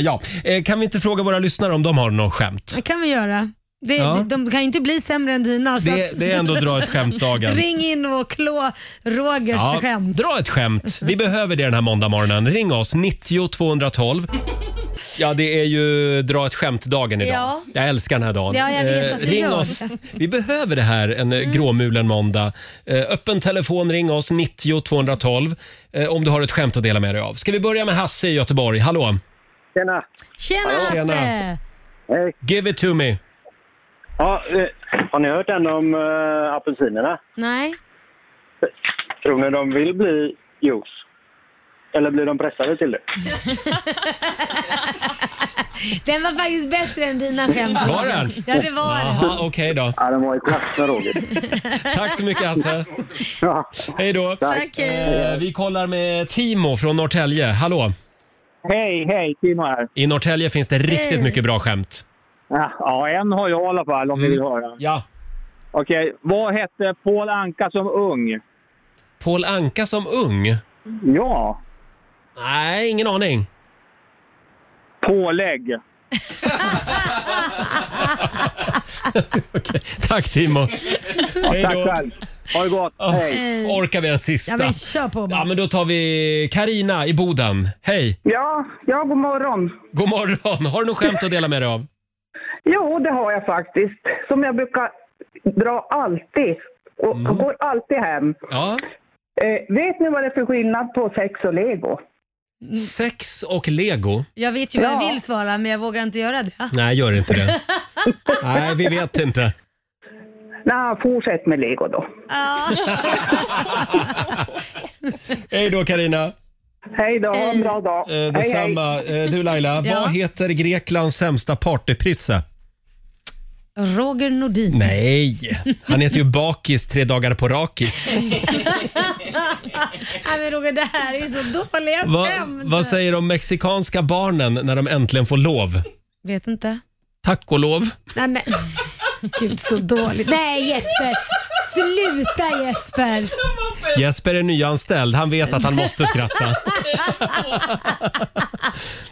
A: ja. Eh, kan vi inte fråga våra lyssnare om de har något skämt?
C: Det kan vi göra. Det,
A: Ja.
C: de, de kan ju inte bli sämre än dina. Så
A: Det,
C: att-
A: det är ändå dra ett skämt-dagen.
C: Ring in och klå Rogers
A: Ja,
C: skämt.
A: dra ett skämt. Vi behöver det den här måndagmorgonen. Ring oss, 90 212. Ja, det är ju dra ett skämt-dagen idag.
C: Ja.
A: Jag älskar den här dagen.
C: Ja, jag vet
A: Eh,
C: att du
A: ring
C: gör det. Mm.
A: oss. Vi behöver det här en eh, gråmulen måndag. Eh, öppen telefon, ring oss, 90 212. Eh, om du har ett skämt att dela med dig av. Ska vi börja med Hasse i Göteborg? Hallå!
H: Tjena!
C: Tjena Hasse!
A: Tjena.
H: Hej.
A: Give it to me!
H: Ja, eh, har ni hört än om eh, apelsinerna?
C: Nej.
H: Tror ni de vill bli juice? Eller blir de pressade till det?
C: Den var faktiskt bättre än dina skämt.
A: Var den?
C: Ja, det var den.
A: Aha, okej då.
H: Ja, de var i klass med Roger.
A: Tack så mycket Hasse.
H: Ja.
A: Hej då.
C: Tack, hej.
A: Eh, Vi kollar med Timo från Norrtälje. Hallå!
H: Hej, hej! Timo här.
A: I Norrtälje finns det riktigt
C: Hej.
A: mycket bra skämt.
H: Ja, Ja, en har jag i alla fall om ni
A: Mm.
H: vill höra.
A: Ja.
H: Okej, vad hette Paul Anka som ung?
A: Paul Anka som ung?
H: Ja,
A: Nej, ingen aning.
H: pålägg.
A: Okej. Tack Timo. Hej
H: Tack
A: då.
H: själv. Ha det gott.
A: Ja.
H: Hej.
A: Orkar vi en
C: Ja,
A: sista?
C: men kör på
A: Ja,
C: bara.
A: men då tar vi Karina i Boden. Hej!
G: Ja, ja, god morgon.
A: God morgon! Har du något skämt att dela med dig av?
G: Jo, det har jag faktiskt. Som jag brukar dra alltid. Och
A: Mm.
G: går alltid hem.
A: Ja.
G: Eh, vet ni vad det är för skillnad på sex och lego?
C: Mm.
A: Sex och lego?
C: Jag vet ju vad jag
G: Ja.
C: vill svara men jag vågar inte göra det.
A: Nej, gör inte det. Nej, vi vet inte.
G: Nej, fortsätt med lego då.
C: Ja.
A: Hej då Karina.
G: Hej då, ha en bra dag.
A: Eh, detsamma. Eh, du Laila,
C: Ja.
A: vad heter Greklands sämsta partyprisse?
C: Roger Nordin.
A: Nej, han heter ju Bakis tre dagar på rakis.
C: Nej men Roger, det här är ju så dåliga
A: Va,
C: skämt.
A: vad säger de mexikanska barnen när de äntligen får lov?
C: Vet inte.
A: Tack och lov.
C: Nej men, gud så dåligt. Nej Jesper, sluta Jesper.
A: Jesper är nyanställd. Han vet att han måste skratta.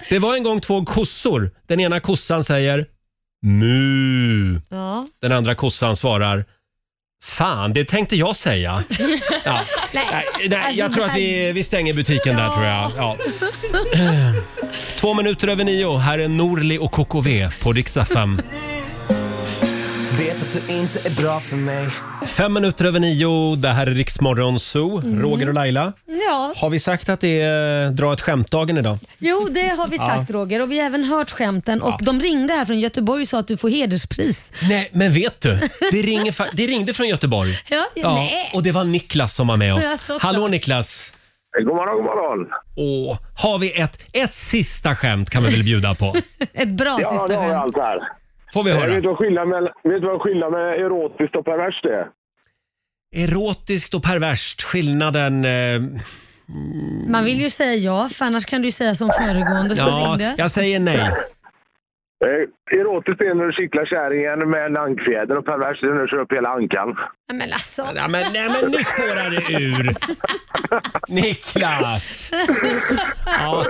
A: Det var en gång två kossor. Den ena kossan säger Mu.
C: Ja.
A: Den andra kossan svarar Fan, det tänkte jag säga. Ja.
C: Nej.
A: Nej, jag
C: Alltså,
A: tror att vi, vi stänger butiken där tror jag. Ja. Eh, Två minuter över nio. Här är Norli och KKV på riksdag 5.
E: Vet att du inte är bra för mig.
A: Fem minuter över nio. Det här är Riksmorgon Zoo.
C: Mm.
A: Roger och Laila.
C: Ja,
A: Har vi sagt att det är dra ett skämt-dagen idag?
C: jo det har vi sagt Roger och vi har även hört skämten och de ringde här från Göteborg och sa att du får hederspris.
A: Nej, men vet du? Det, ringer fa- det ringde från Göteborg.
C: Ja, nej. alltså,
A: Och det var Niklas som var med oss.
C: Ja, såklart.
A: Hallå Niklas!
M: Eh, God morgon, god morgon!
A: Åh, har vi ett, ett sista skämt kan vi väl bjuda på?
C: Ett bra
M: ja,
C: sista
M: det har vi
C: skämt.
M: allt här.
A: Får vi
M: Eh,
A: höra?
M: Vet du vad skillnaden mellan, vet du vad skillnaden mellan erotiskt och perverst är?
A: Erotiskt och perverst, skillnaden... Eh,
C: Man vill ju säga ja för annars kan du ju säga som föregående som
A: ja,
C: ringde.
A: jag säger nej.
M: Eh, erotiskt är när du kittlar kärringen med en ankfjäder och perverst är när du kör upp hela ankan.
C: Nej, Men alltså.
A: Ja, men, nej, men nu spårar det ur. Niklas! Ja.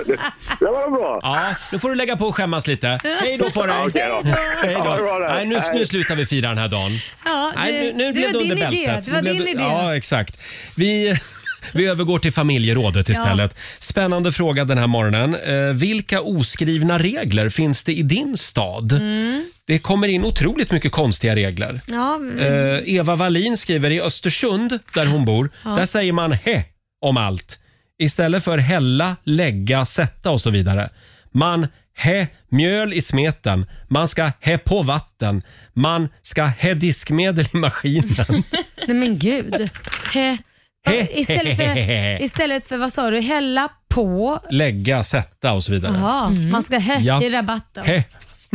M: Det var bra.
A: Ja, nu får du lägga på och skämmas lite. Hej då på dig!
M: Okej då.
A: Hej
M: Ha det
A: då.
M: bra där.
A: Nej, nu, nu
M: Hej.
A: slutar vi fira den här dagen.
C: Ja, det,
A: Nej, nu, nu
C: det
A: blev det
C: var
A: under
C: din idé.
A: bältet.
C: Det var
A: Nu blev
C: din
A: det-
C: idé.
A: Ja, exakt. Vi, vi övergår till familjerådet istället. Spännande fråga den här morgonen. Eh, vilka oskrivna regler finns det i din stad?
C: Mm.
A: Det kommer in otroligt mycket konstiga regler.
C: Ja,
A: Eh, Eva Wallin skriver i Östersund, där hon bor,
C: Ja.
A: där säger man he om allt. Istället för hälla, lägga, sätta och så vidare. Man he mjöl i smeten. Man ska he på vatten. Man ska he diskmedel i maskinen.
C: Nej men gud. He,
A: He-
C: istället, för, istället för, vad sa du, hälla på.
A: lägga, sätta och så vidare.
C: Jaha, man ska he
A: Ja.
C: i rabatten.
A: He.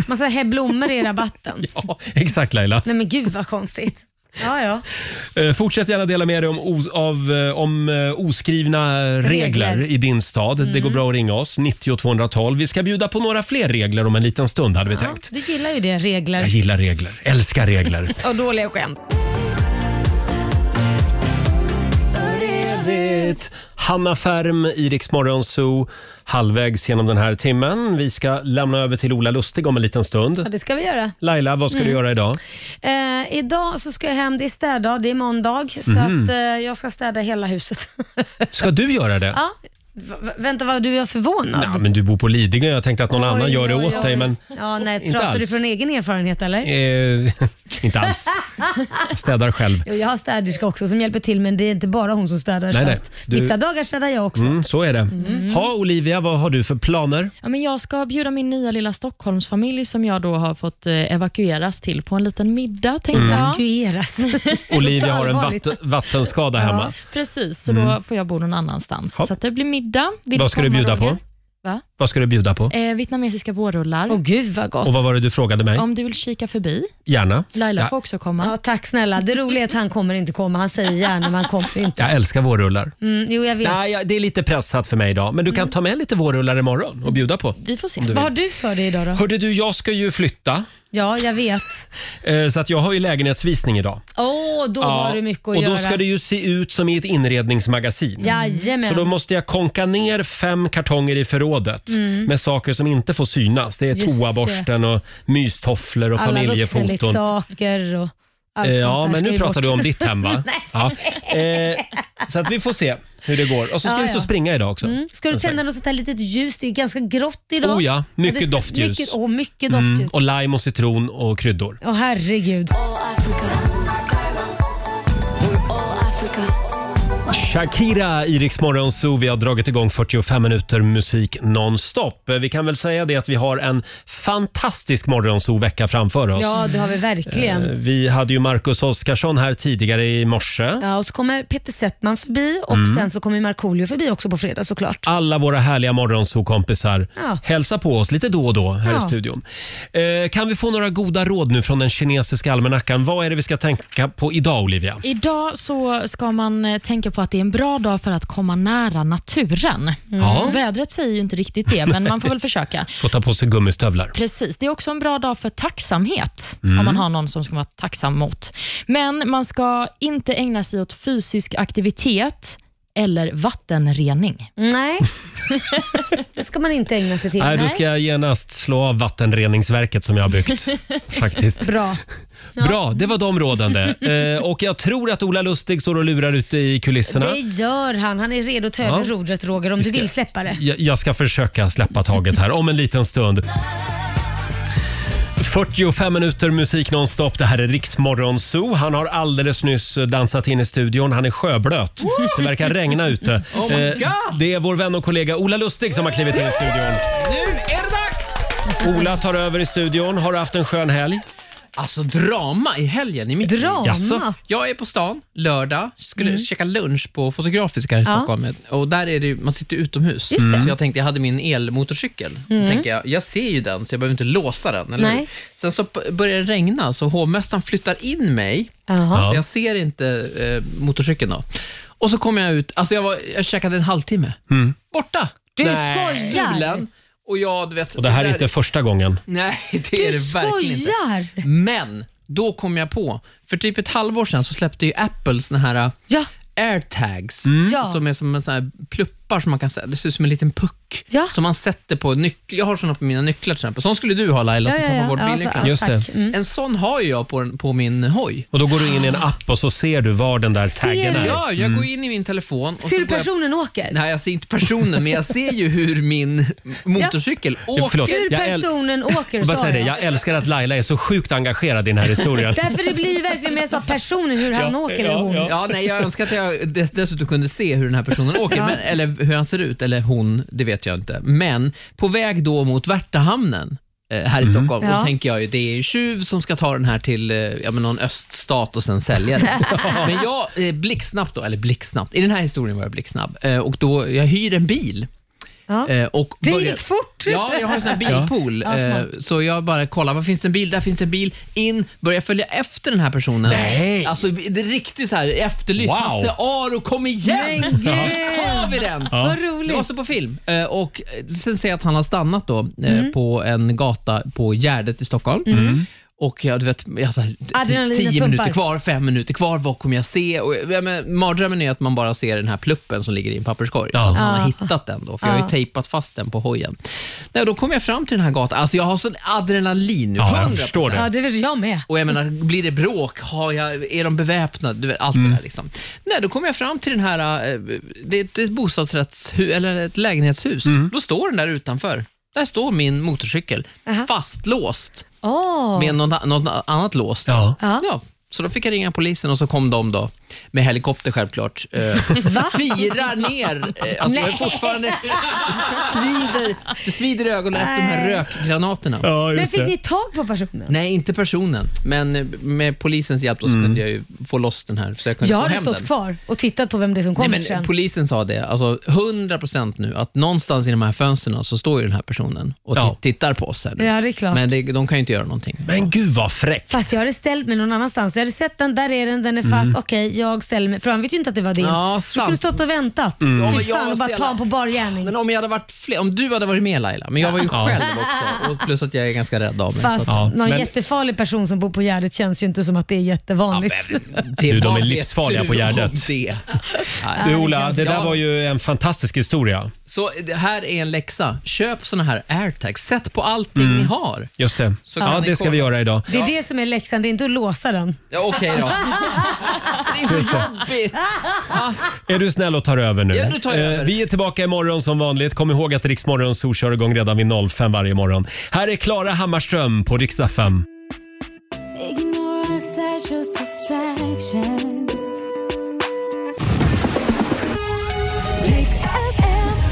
C: Man ska he blommor i rabatten.
A: Ja, exakt Laila.
C: Nej men gud vad konstigt. Ja, ja.
A: Eh, Fortsätt gärna dela med dig om, os- av, eh, om eh, oskrivna regler,
C: Regler. Mm.
A: i din stad. Det går bra att ringa oss, 90 212. Vi ska bjuda på några fler regler om en liten stund hade vi
C: ja.
A: tänkt.
C: Du gillar ju det, regler.
A: Jag gillar regler, älskar regler.
C: Och dåliga skämt.
A: Hanna Färm, Iriks Zoo, halvvägs genom den här timmen. Vi ska lämna över till Ola Lustig om en liten
C: Ja,
A: stund.
C: det ska vi göra.
A: Laila, vad ska
C: Mm.
A: du göra idag?
C: Eh, idag så ska jag hem, det är städdag, det är måndag, så
A: Mhm.
C: att, eh, jag ska städa hela huset.
A: Ska du göra det?
C: ja. V- v- vänta, vad du är förvånad.
A: Nej, men du bor på Lidingö. Jag tänkte att någon annan gör det åt dig, men
C: Ja, nej,
A: inte
C: pratar du
A: alls.
C: från egen erfarenhet eller?
A: eh, inte alls. Jag städar själv.
C: Jo, Jag har städerska också som hjälper till men det är inte bara hon som städar.
A: Nej,
C: så
A: nej.
C: att
A: Du-
C: Vissa dagar städar jag också.
A: Mm, så är det. Ha, Olivia, vad har du för planer?
D: Ja, men jag ska bjuda min nya lilla Stockholmsfamilj som jag då har fått eh, evakueras till på en liten middag. Tänkte
A: Mm.
D: jag.
C: Evakueras?
A: Olivia har en vatten, vattenskada hemma.
D: Precis, så
A: Mm.
D: då får jag bo någon annanstans.
A: Ja.
D: Så att det blir middag. Vill
A: Vad ska du
D: komma,
A: bjuda
D: Roger?
A: på?
D: Va?
A: Vad ska du bjuda på?
D: Eh, vietnamesiska
A: Oh,
D: vårrullar.
C: Åh gud vad gott.
A: Och vad var det du frågade mig?
D: Om du vill kika förbi.
A: Gärna.
D: Laila får
A: Jag,
D: också komma.
C: Ja, tack snälla. Det roliga är att han kommer inte komma. Han säger gärna men han kommer inte.
A: jag älskar vårrullar.
C: Mm, jo, jag vet.
A: Nej, jag- det är lite pressat för mig idag, men du kan
C: Mm.
A: ta med lite vårrullar imorgon och bjuda på.
D: Vi får se.
A: Om du
C: Vad har
A: vill.
C: du för dig idag då?
A: Hörde du, jag ska ju flytta,
C: Ja, jag vet.
A: eh, så att jag har ju lägenhetsvisning idag.
C: Åh, då har du mycket att
A: och
C: göra.
A: då ska det ju se ut som i ett inredningsmagasin.
C: Jajamän.
A: Så då måste jag konka ner fem kartonger i förrådet
C: Mm.
A: med saker som inte får synas. Det är
C: Just
A: toaborsten och mystofflor och
C: Alla
A: familjefoton.
C: vuxenleksaker och allt
A: Eh,
C: sånt
A: ja,
C: där
A: men
C: ska
A: nu
C: ju
A: pratar
C: bort.
A: du om ditt hem va? ja. eh, så att vi får se hur det går. Och så ska
C: Ja,
A: jag ut och
C: ja.
A: springa idag också.
C: Mm. Ska du
A: En sväng.
C: tända något sånt här litet ljus? Det är ju ganska grått idag.
A: Oh ja, mycket
C: det ska-
A: doftljus.
C: Mycket, oh, mycket doftljus.
A: Mm, och lime och citron och kryddor.
C: Åh herregud.
A: Shakira, Iriks morgonzoo. Vi har dragit igång 45 minuter musik nonstop. Eh, Vi kan väl säga det att vi har en fantastisk morgonzoo-vecka framför oss.
C: Ja, det har vi verkligen.
A: Eh, Vi hade ju Marcus Oskarsson här tidigare i morse.
C: Ja, och så kommer Peter Settman förbi och
A: Mm.
C: sen så kommer Markoolio förbi också på fredag såklart.
A: Alla våra härliga morgonzoo-kompisar
C: Ja.
A: hälsa på oss lite då och då här
C: Ja.
A: i studion. Eh, kan vi få några goda råd nu från den kinesiska almanackan? Vad är det vi ska tänka på idag, Olivia?
D: Idag så ska man eh, tänka på att det är en bra dag för att komma nära naturen. Mm.
A: Ja.
D: Vädret säger ju inte riktigt det, men man får väl försöka.
A: Få ta på sig gummistövlar.
D: Precis. Det är också en bra dag för tacksamhet,
A: Mm.
D: om man har någon som ska vara tacksam mot. Men man ska inte ägna sig åt fysisk aktivitet eller vattenrening.
C: Nej, det ska man inte ägna sig till.
A: Nej, då ska jag genast slå av vattenreningsverket som jag har byggt. faktiskt.
C: Bra.
A: Bra, det var de råden det. Eh, och jag tror att Ola Lustig står och lurar ute i kulisserna.
C: Det gör han. Han är redo att ta
A: Ja.
C: över rodret Roger om
A: Vi
C: du
A: ska-
C: vill släppa det.
A: Jag, jag ska försöka släppa taget här om en liten stund. 45 minuter musik nonstop. Det här är Riksmorgon Zoo. Han har alldeles nyss dansat in i studion. Han är sjöblöt. Det verkar regna ute.
E: Oh my
A: Eh,
E: God!
A: Det är vår vän och kollega Ola Lustig som har klivit in i studion.
E: Nu är det dags!
A: Ola tar över i studion. Har du haft en skön helg?
E: Alltså drama i helgen i mitt liv.
A: Drama? Jaså?
E: Jag är på stan lördag, skulle
F: Mm.
E: käka lunch på Fotografiska här i
F: Ja.
E: Stockholm. Och där är det, ju- man sitter ju utomhus.
F: Just det.
E: Så jag tänkte, jag hade min elmotorcykel.
F: Mm.
E: Då Tänker jag, jag ser ju den, så jag behöver inte låsa den. Eller
F: Nej.
E: hur? Sen så p- börjar det regna, så hovmästaren flyttar in mig.
F: Jaha.
E: Så jag ser inte eh, motorcykeln då. Och så kommer jag ut, alltså jag, var, jag käkade en halvtimme.
A: Mm.
E: Borta!
A: Du Nej. skojar.
E: Stulen. Och jag, du vet,
A: Och det här
E: där-
A: är inte första gången.
E: Nej, det är det verkligen inte. Men då kom jag på, för typ ett halvår sedan så släppte ju Apple såna här eh,
C: ja.
E: airtags,
A: Mm.
C: Ja.
E: som är som en sån här pluppar som man kan säga, det ser ut som en liten puck, som man sätter på nycklar. Jag har såna på mina nycklar till exempel. Sån skulle du ha Laila,
A: Ja,
E: som
A: ja,
E: tar
A: ja.
E: på vårt
A: Ja,
C: alltså,
A: Mm.
E: bilnycklar.
A: så- Just tack. det.
C: Mm.
E: En sån har ju jag på, den- på min hoj.
A: Och då går du in i en app och så ser du var den där taggen är.
E: Ja, jag
A: Mm.
E: går in i min telefon. Och så
C: Ser du
E: går jag-
C: personen åker?
E: Nej, jag ser inte personen, men jag ser ju hur min motorcykel
A: Ja,
E: åker.
A: förlåt.
C: Hur
A: Jag äl-
C: personen åker
A: Jag, bara
C: sa
A: säger det,
C: jag.
A: jag älskar att Laila är så sjukt engagerad i den här historien.
C: Därför det blir ju verkligen mer så att personen hur han åker eller hon.
E: Ja, nej, jag önskar att jag dess- dessutom kunde se hur den här personen åker,
C: Ja.
E: men, eller hur han ser ut, eller hon, det vet jag inte. Men på väg då mot Värtahamnen eh, här i Stockholm,
F: Ja.
E: då tänker jag ju det är ju tjuv som ska ta den här till eh, ja, men någon öststat och sen sälja den. men jag, eh, blixtsnabbt då, eller blixtsnabbt, i den här historien var jag blixtsnabb, eh, och då, jag hyr en bil. Eh, och
C: Det
E: börjar-
C: gick fort.
E: Ja, jag har en sån här bilpool.
C: Ja. Ja,
E: eh,
C: smart.
E: så jag bara kollar, var finns det en bil? Där finns det en bil. In, börjar följa efter den här personen.
F: Nej.
E: Alltså, det är riktigt så här efterlyst.
F: Wow.
E: Hasse Aro, kom igen!
F: Men gud.
E: Nu tar vi den!
F: Ja. Vad roligt.
E: Det var så på film. Eh, och eh, sen ser jag att han har stannat då, eh,
F: Mm.
E: på en gata på Gärdet i Stockholm.
F: Mm.
E: Och jag, du vet, jag, så här, t-
F: Adrenalinet
E: tio
F: pumpar.
E: minuter kvar, fem minuter kvar, vad kommer jag se? Och, eh, ja, men, mardrömmen är att man bara ser den här pluppen som ligger i en papperskorg. Att Han
F: Ja.
E: har hittat den då, för jag har
F: Ja.
E: ju tejpat fast den på hojen. Nej, då kom jag fram till den här gatan. Alltså jag har sån adrenalin nu.
A: Ja, jag
E: 100%.
A: förstår det. Ja,
C: det vill jag med.
E: Och jag menar, blir det bråk? Har jag, är de beväpnade? Du vet, allt det där liksom. Nej, då kom jag fram till den här, eh, det är ett- det är ett bostadsrättshus, eller ett lägenhetshus. Då står den där utanför. Där står min motorcykel, fastlåst
C: Åh.
E: med något, något annat lås. då.
C: Ja.
E: Så då fick jag ringa polisen och så kom de då med helikopter självklart. Eh, Fyra ner. Eh, alltså, jag är
F: Nej.
E: fortfarande svider, det svider i ögonen efter de här
C: Nej.
E: rökgranaterna.
C: Men fick ni tag på personen?
E: Nej, inte personen, men med polisens hjälp då
A: Mm.
E: så kunde jag ju få loss den här. Så jag kunde
C: Jag
E: få
C: hade
E: hem
C: stått
E: den.
C: kvar och tittat på vem det är som
E: Nej,
C: kommer
E: men
C: sen.
E: polisen sa det, alltså 100% nu, att någonstans i de här fönstren så står ju den här personen och ti- tittar på oss. Här nu.
C: Ja, det är klart.
E: Men det, de kan ju inte göra någonting.
A: Men gud vad fräckt!
C: Fast jag hade ställt mig någon annanstans. Jag hade sett den, där är den, den är fast.
E: Mm.
C: Okej, jag ställer mig. För han vet ju inte att det var din.
E: Ja,
C: så du kunde
E: sant.
C: stått och väntat.
E: Mm. Ja, men
C: Fy fan
E: jag
C: och bara
E: ser
C: ta
E: alla-
C: honom på bar gärning.
E: Men om, jag hade varit fler, om du hade varit med Laila, men jag var ju
C: Ja.
E: själv också. Och plus att jag är ganska rädd av mig.
C: Fast
E: så att,
C: någon jättefarlig person som bor på Gärdet känns ju inte som att det är jättevanligt.
E: det
A: du, de
E: var
A: är
E: det
A: livsfarliga på
E: tur
A: Gärdet.
E: om Det.
A: Du Ola, det där
E: Ja.
A: var ju en fantastisk historia.
E: Så det här är en läxa. Köp såna här airtags. Sätt på allting
A: Mm.
E: ni har.
A: Just det.
E: Så kan
A: Ja,
E: ni
A: det ska
E: kolla.
A: vi göra idag.
C: Det är det som är läxan, det är inte att låsa den.
E: Ja, Okej då. Det är
A: Just
E: för
A: det.
E: jobbigt. Ja.
A: Är du snäll och tar över nu?
E: Ja, nu tar jag
A: Eh,
E: över.
A: Vi är tillbaka imorgon som vanligt. Kom ihåg att Riksmorgon Zoo kör igång redan vid 05 varje morgon. Här är Klara Hammarström på Riksdag 5.
L: Ignorance, I chose distractions.